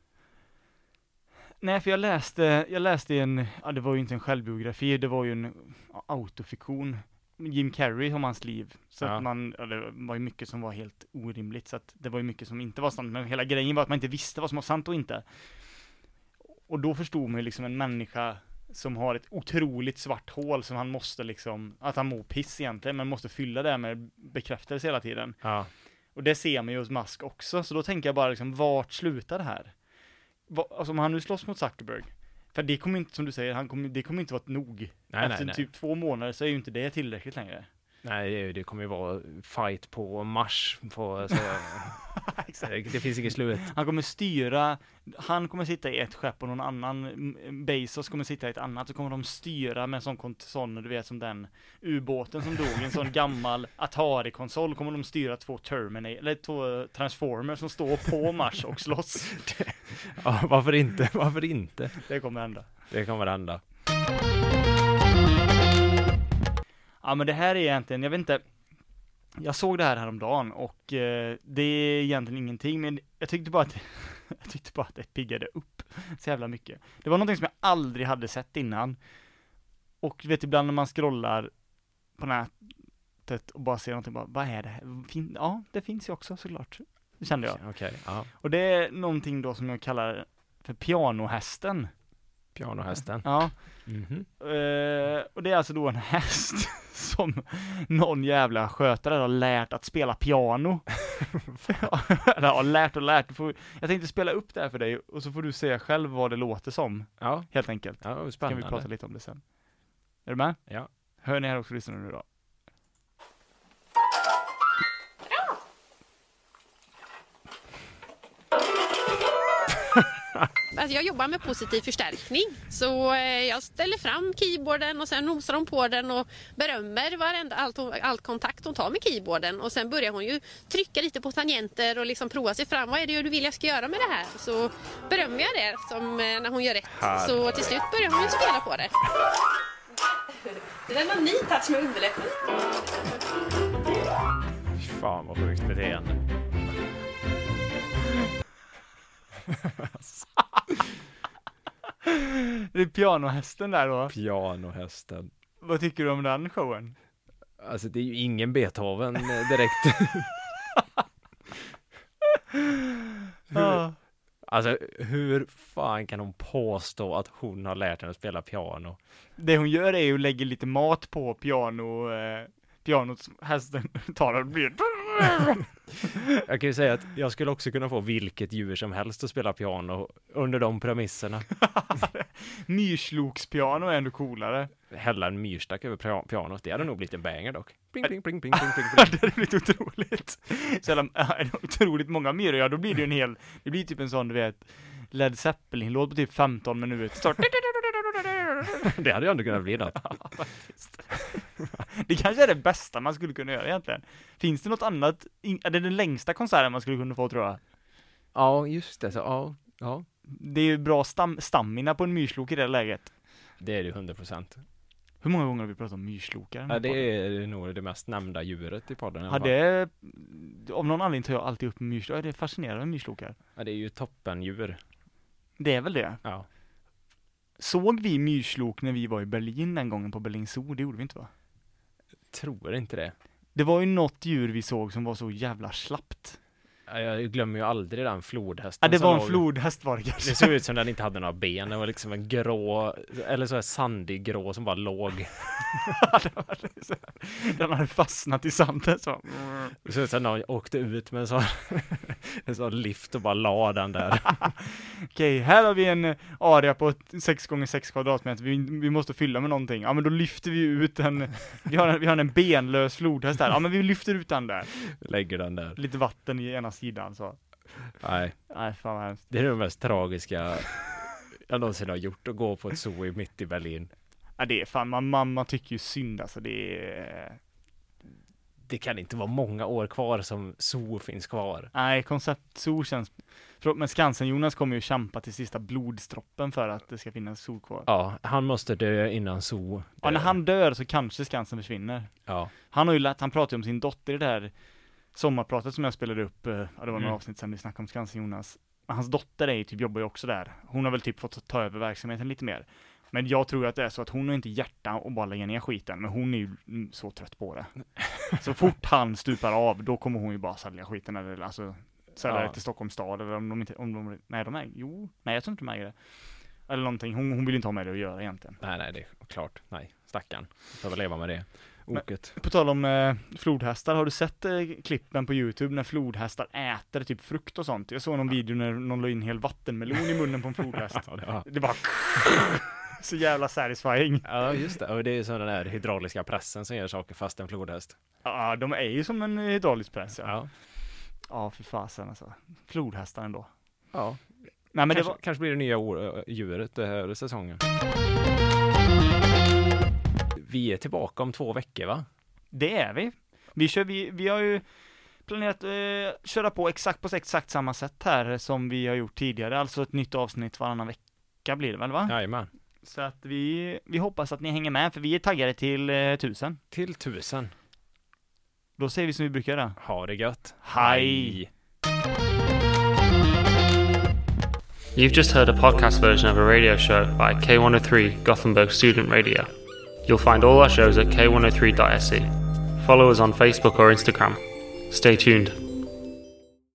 Speaker 3: Nej, för jag läste, jag läste i en, ja det var ju inte en självbiografi, det var ju en ja, autofiktion. Jim Carrey om hans liv. Så
Speaker 2: Ja.
Speaker 3: att man, ja, det var ju mycket som var helt orimligt, så att det var ju mycket som inte var sant, men hela grejen var att man inte visste vad som var sant och inte. Och då förstod man ju liksom en människa som har ett otroligt svart hål som han måste liksom, att han mår piss egentligen, men måste fylla det med bekräftelse hela tiden.
Speaker 2: Ja.
Speaker 3: Och det ser man ju hos Musk också, så då tänker jag bara liksom, vart slutar det här? Va, alltså om han nu slåss mot Zuckerberg, för det kommer inte, som du säger, han kommer, det kommer inte vara nog.
Speaker 2: Nej,
Speaker 3: Efter
Speaker 2: nej, nej.
Speaker 3: typ två månader så är ju inte det tillräckligt längre.
Speaker 2: Nej, det- det kommer ju vara fight på Mars. På, så, det det finns inget slut.
Speaker 3: Han kommer styra, han kommer sitta i ett skepp och någon annan, mm, Bezos kommer sitta i ett annat, så kommer de styra med en sån, kont- sån du vet som den ubåten som dog, en sån gammal Atari-konsol, kommer de styra två Terminator, eller två eh, Transformers som står på Mars och slåss.
Speaker 2: Ja, varför inte? Varför inte?
Speaker 3: Det kommer hända.
Speaker 2: Det kommer hända.
Speaker 3: Ja men det här är egentligen, jag vet inte Jag såg det här häromdagen och eh, det är egentligen ingenting men jag tyckte bara att Jag tyckte bara att det piggade upp så jävla mycket Det var någonting som jag aldrig hade sett innan Och du vet ibland när man scrollar på nätet och bara ser någonting bara, vad är det här? Fin- ja, det finns ju också såklart Kände jag
Speaker 2: Okej, ja.
Speaker 3: Och det är någonting då som jag kallar för pianohästen
Speaker 2: Pianohästen.
Speaker 3: Ja
Speaker 2: Mhm.
Speaker 3: Eh, och det är alltså då en häst som någon jävla skötare har lärt att spela piano. Eller har lärt och lärt. Du Får, jag tänkte spela upp det här för dig och så får du se själv vad det låter som,
Speaker 2: Ja,
Speaker 3: helt enkelt.
Speaker 2: ja vad
Speaker 3: Så kan vi
Speaker 2: spännande.
Speaker 3: prata lite om det sen. Är du med?
Speaker 2: Ja.
Speaker 3: Hör ni här också, lyssnar nu då.
Speaker 4: Alltså jag jobbar med positiv förstärkning. Så eh, jag ställer fram keyboarden och sen nosar hon på den och berömmer varenda, allt, hon, allt kontakt hon tar med keyboarden. Och sen börjar hon ju trycka lite på tangenter och liksom prova sig fram. Vad är det du vill jag ska göra med det här? Så berömmer jag det som eh, när hon gör rätt. Så till slut börjar hon ju spela på det. Det är en ny touch med underläppen.
Speaker 2: Fan vad sjukt beteende.
Speaker 3: Det är pianohästen där då.
Speaker 2: Pianohästen.
Speaker 3: Vad tycker du om den showen?
Speaker 2: Alltså det är ju ingen Beethoven eh, direkt.
Speaker 3: Ja.
Speaker 2: Alltså hur fan kan hon påstå att hon har lärt henne att spela piano?
Speaker 3: Det hon gör är ju att lägga lite mat på piano, eh, pianot som hästen tar och blir
Speaker 2: Jag kan ju säga att jag skulle också kunna få vilket djur som helst att spela piano under de premisserna.
Speaker 3: Myrsloks-piano är ändå coolare.
Speaker 2: Hälla en myrstack över pia- pianot, det hade nog blivit en banger dock. Pling, pling, pling, pling, pling, pling,
Speaker 3: det
Speaker 2: pling.
Speaker 3: hade blivit otroligt. Så jävla, ja, otroligt många myror, ja då blir det ju en hel, det blir typ en sån du vet, Led Zeppelin-låt på typ 15 minuter. Står-
Speaker 2: Det hade ju ändå kunnat bli något.
Speaker 3: Det kanske är det bästa man skulle kunna göra egentligen. Finns det något annat? in- Är det den längsta konserten man skulle kunna få tror jag?
Speaker 2: Ja, just det. Så, ja, ja.
Speaker 3: Det är ju bra stam stamina på en myrslok i det läget.
Speaker 2: Det är det ju 100 procent.
Speaker 3: Hur många gånger har vi pratat om myrslokar? i den
Speaker 2: Ja,
Speaker 3: här
Speaker 2: det
Speaker 3: podden?
Speaker 2: är nog det mest nämnda djuret i podden. i alla
Speaker 3: Ja,
Speaker 2: fall.
Speaker 3: det är, av någon anledning tar jag alltid upp myrslokar. Jag är fascinerad av myrslokar.
Speaker 2: Ja, det är ju toppendjur.
Speaker 3: Det är väl det.
Speaker 2: Ja.
Speaker 3: Såg vi myrslok när vi var i Berlin den gången på Berlin Zoo? Det gjorde vi inte va?
Speaker 2: Tror inte det.
Speaker 3: Det var ju något djur vi såg som var så jävla slappt.
Speaker 2: Ja, Jag glömmer ju aldrig den
Speaker 3: Ja,
Speaker 2: flodhästen
Speaker 3: det
Speaker 2: som
Speaker 3: var en
Speaker 2: låg-
Speaker 3: flodhäst var det
Speaker 2: Det
Speaker 3: kanske.
Speaker 2: såg ut som den inte hade några ben, den var liksom en grå, eller så här sandig grå som bara låg.
Speaker 3: Den hade fastnat i sanden så.
Speaker 2: Det såg ut som någon åkte ut med en sån, en sån lift och bara la den där.
Speaker 3: Okej, här har vi en eh, area på ett- 6 gånger 6 kvadratmeter, vi, vi måste fylla med någonting. Ja men då lyfter vi ut en, vi har en, vi har en benlös flodhäst här. Ja men vi lyfter ut den där.
Speaker 2: Lägger den där.
Speaker 3: Lite vatten i ena sidan så.
Speaker 2: Nej,
Speaker 3: Nej fan vad hemskt.
Speaker 2: det är det mest tragiska jag någonsin har gjort, att gå på ett zoo i mitt i Berlin.
Speaker 3: Ja det är fan, man, mamma tycker ju synd alltså det är...
Speaker 2: Det kan inte vara många år kvar som zoo finns kvar.
Speaker 3: Nej, koncept zoo känns... För- Men Skansen-Jonas kommer ju kämpa till sista blodsdroppen för att det ska finnas zoo kvar.
Speaker 2: Ja, han måste dö innan zoo
Speaker 3: Ja, när
Speaker 2: dör.
Speaker 3: han dör så kanske Skansen försvinner.
Speaker 2: Ja,
Speaker 3: Han har ju lärt, han pratar ju om sin dotter i det här sommarpratet som jag spelade upp, eh, ja det var några
Speaker 2: Mm.
Speaker 3: avsnitt sedan vi snackade om Skansen-Jonas. Men Hans dotter är ju typ, jobbar ju också där. Hon har väl typ fått ta över verksamheten lite mer. Men jag tror ju att det är så att hon har inte hjärta och bara lägga ner skiten, men hon är ju mm, så trött på det. Så fort han stupar av, då kommer hon ju bara sälja skiten eller alltså sälja
Speaker 2: Ja.
Speaker 3: det till Stockholms stad eller om de inte, om de, nej de äger, jo, nej jag tror inte de äger det. Eller någonting, hon, hon vill ju inte ha med det att göra egentligen.
Speaker 2: nej, nej, det är klart. Nej, stackarn. Får väl leva med det. Oket.
Speaker 3: På tal om eh, flodhästar, har du sett eh, klippen på Youtube när flodhästar äter typ frukt och sånt? Jag såg någon video när någon la in en hel vattenmelon i munnen på en flodhäst.
Speaker 2: Ja, det var-
Speaker 3: Det bara så jävla satisfying.
Speaker 2: Ja, just det. Och det är som den här hydrauliska pressen som gör saker fast en flodhäst.
Speaker 3: Ja, de är ju som en hydraulisk press. Ja,
Speaker 2: Ja.
Speaker 3: ja för fasen alltså. Flodhästar ändå.
Speaker 2: ja.
Speaker 3: Nej men
Speaker 2: Men kanske,
Speaker 3: det var,
Speaker 2: kanske blir det nya or- djuret den här säsongen. Vi är tillbaka om två veckor, va?
Speaker 3: det är vi. Vi kör, vi, vi har ju planerat eh, köra på exakt på exakt samma sätt här som vi har gjort tidigare, alltså ett nytt avsnitt varannan vecka blir det väl va?
Speaker 2: Jajamän.
Speaker 3: Så att vi, vi hoppas att ni hänger med, för vi är taggade till eh, tusen.
Speaker 2: Till tusen.
Speaker 3: Då säger vi som vi brukar göra.
Speaker 2: Ha det gött.
Speaker 3: Hej.
Speaker 1: You've just heard a podcast version of a radio show by K103 Gothenburg Student Radio. You'll find oh E. all our shows at k103.se. Follow us on Facebook or Instagram. Stay tuned.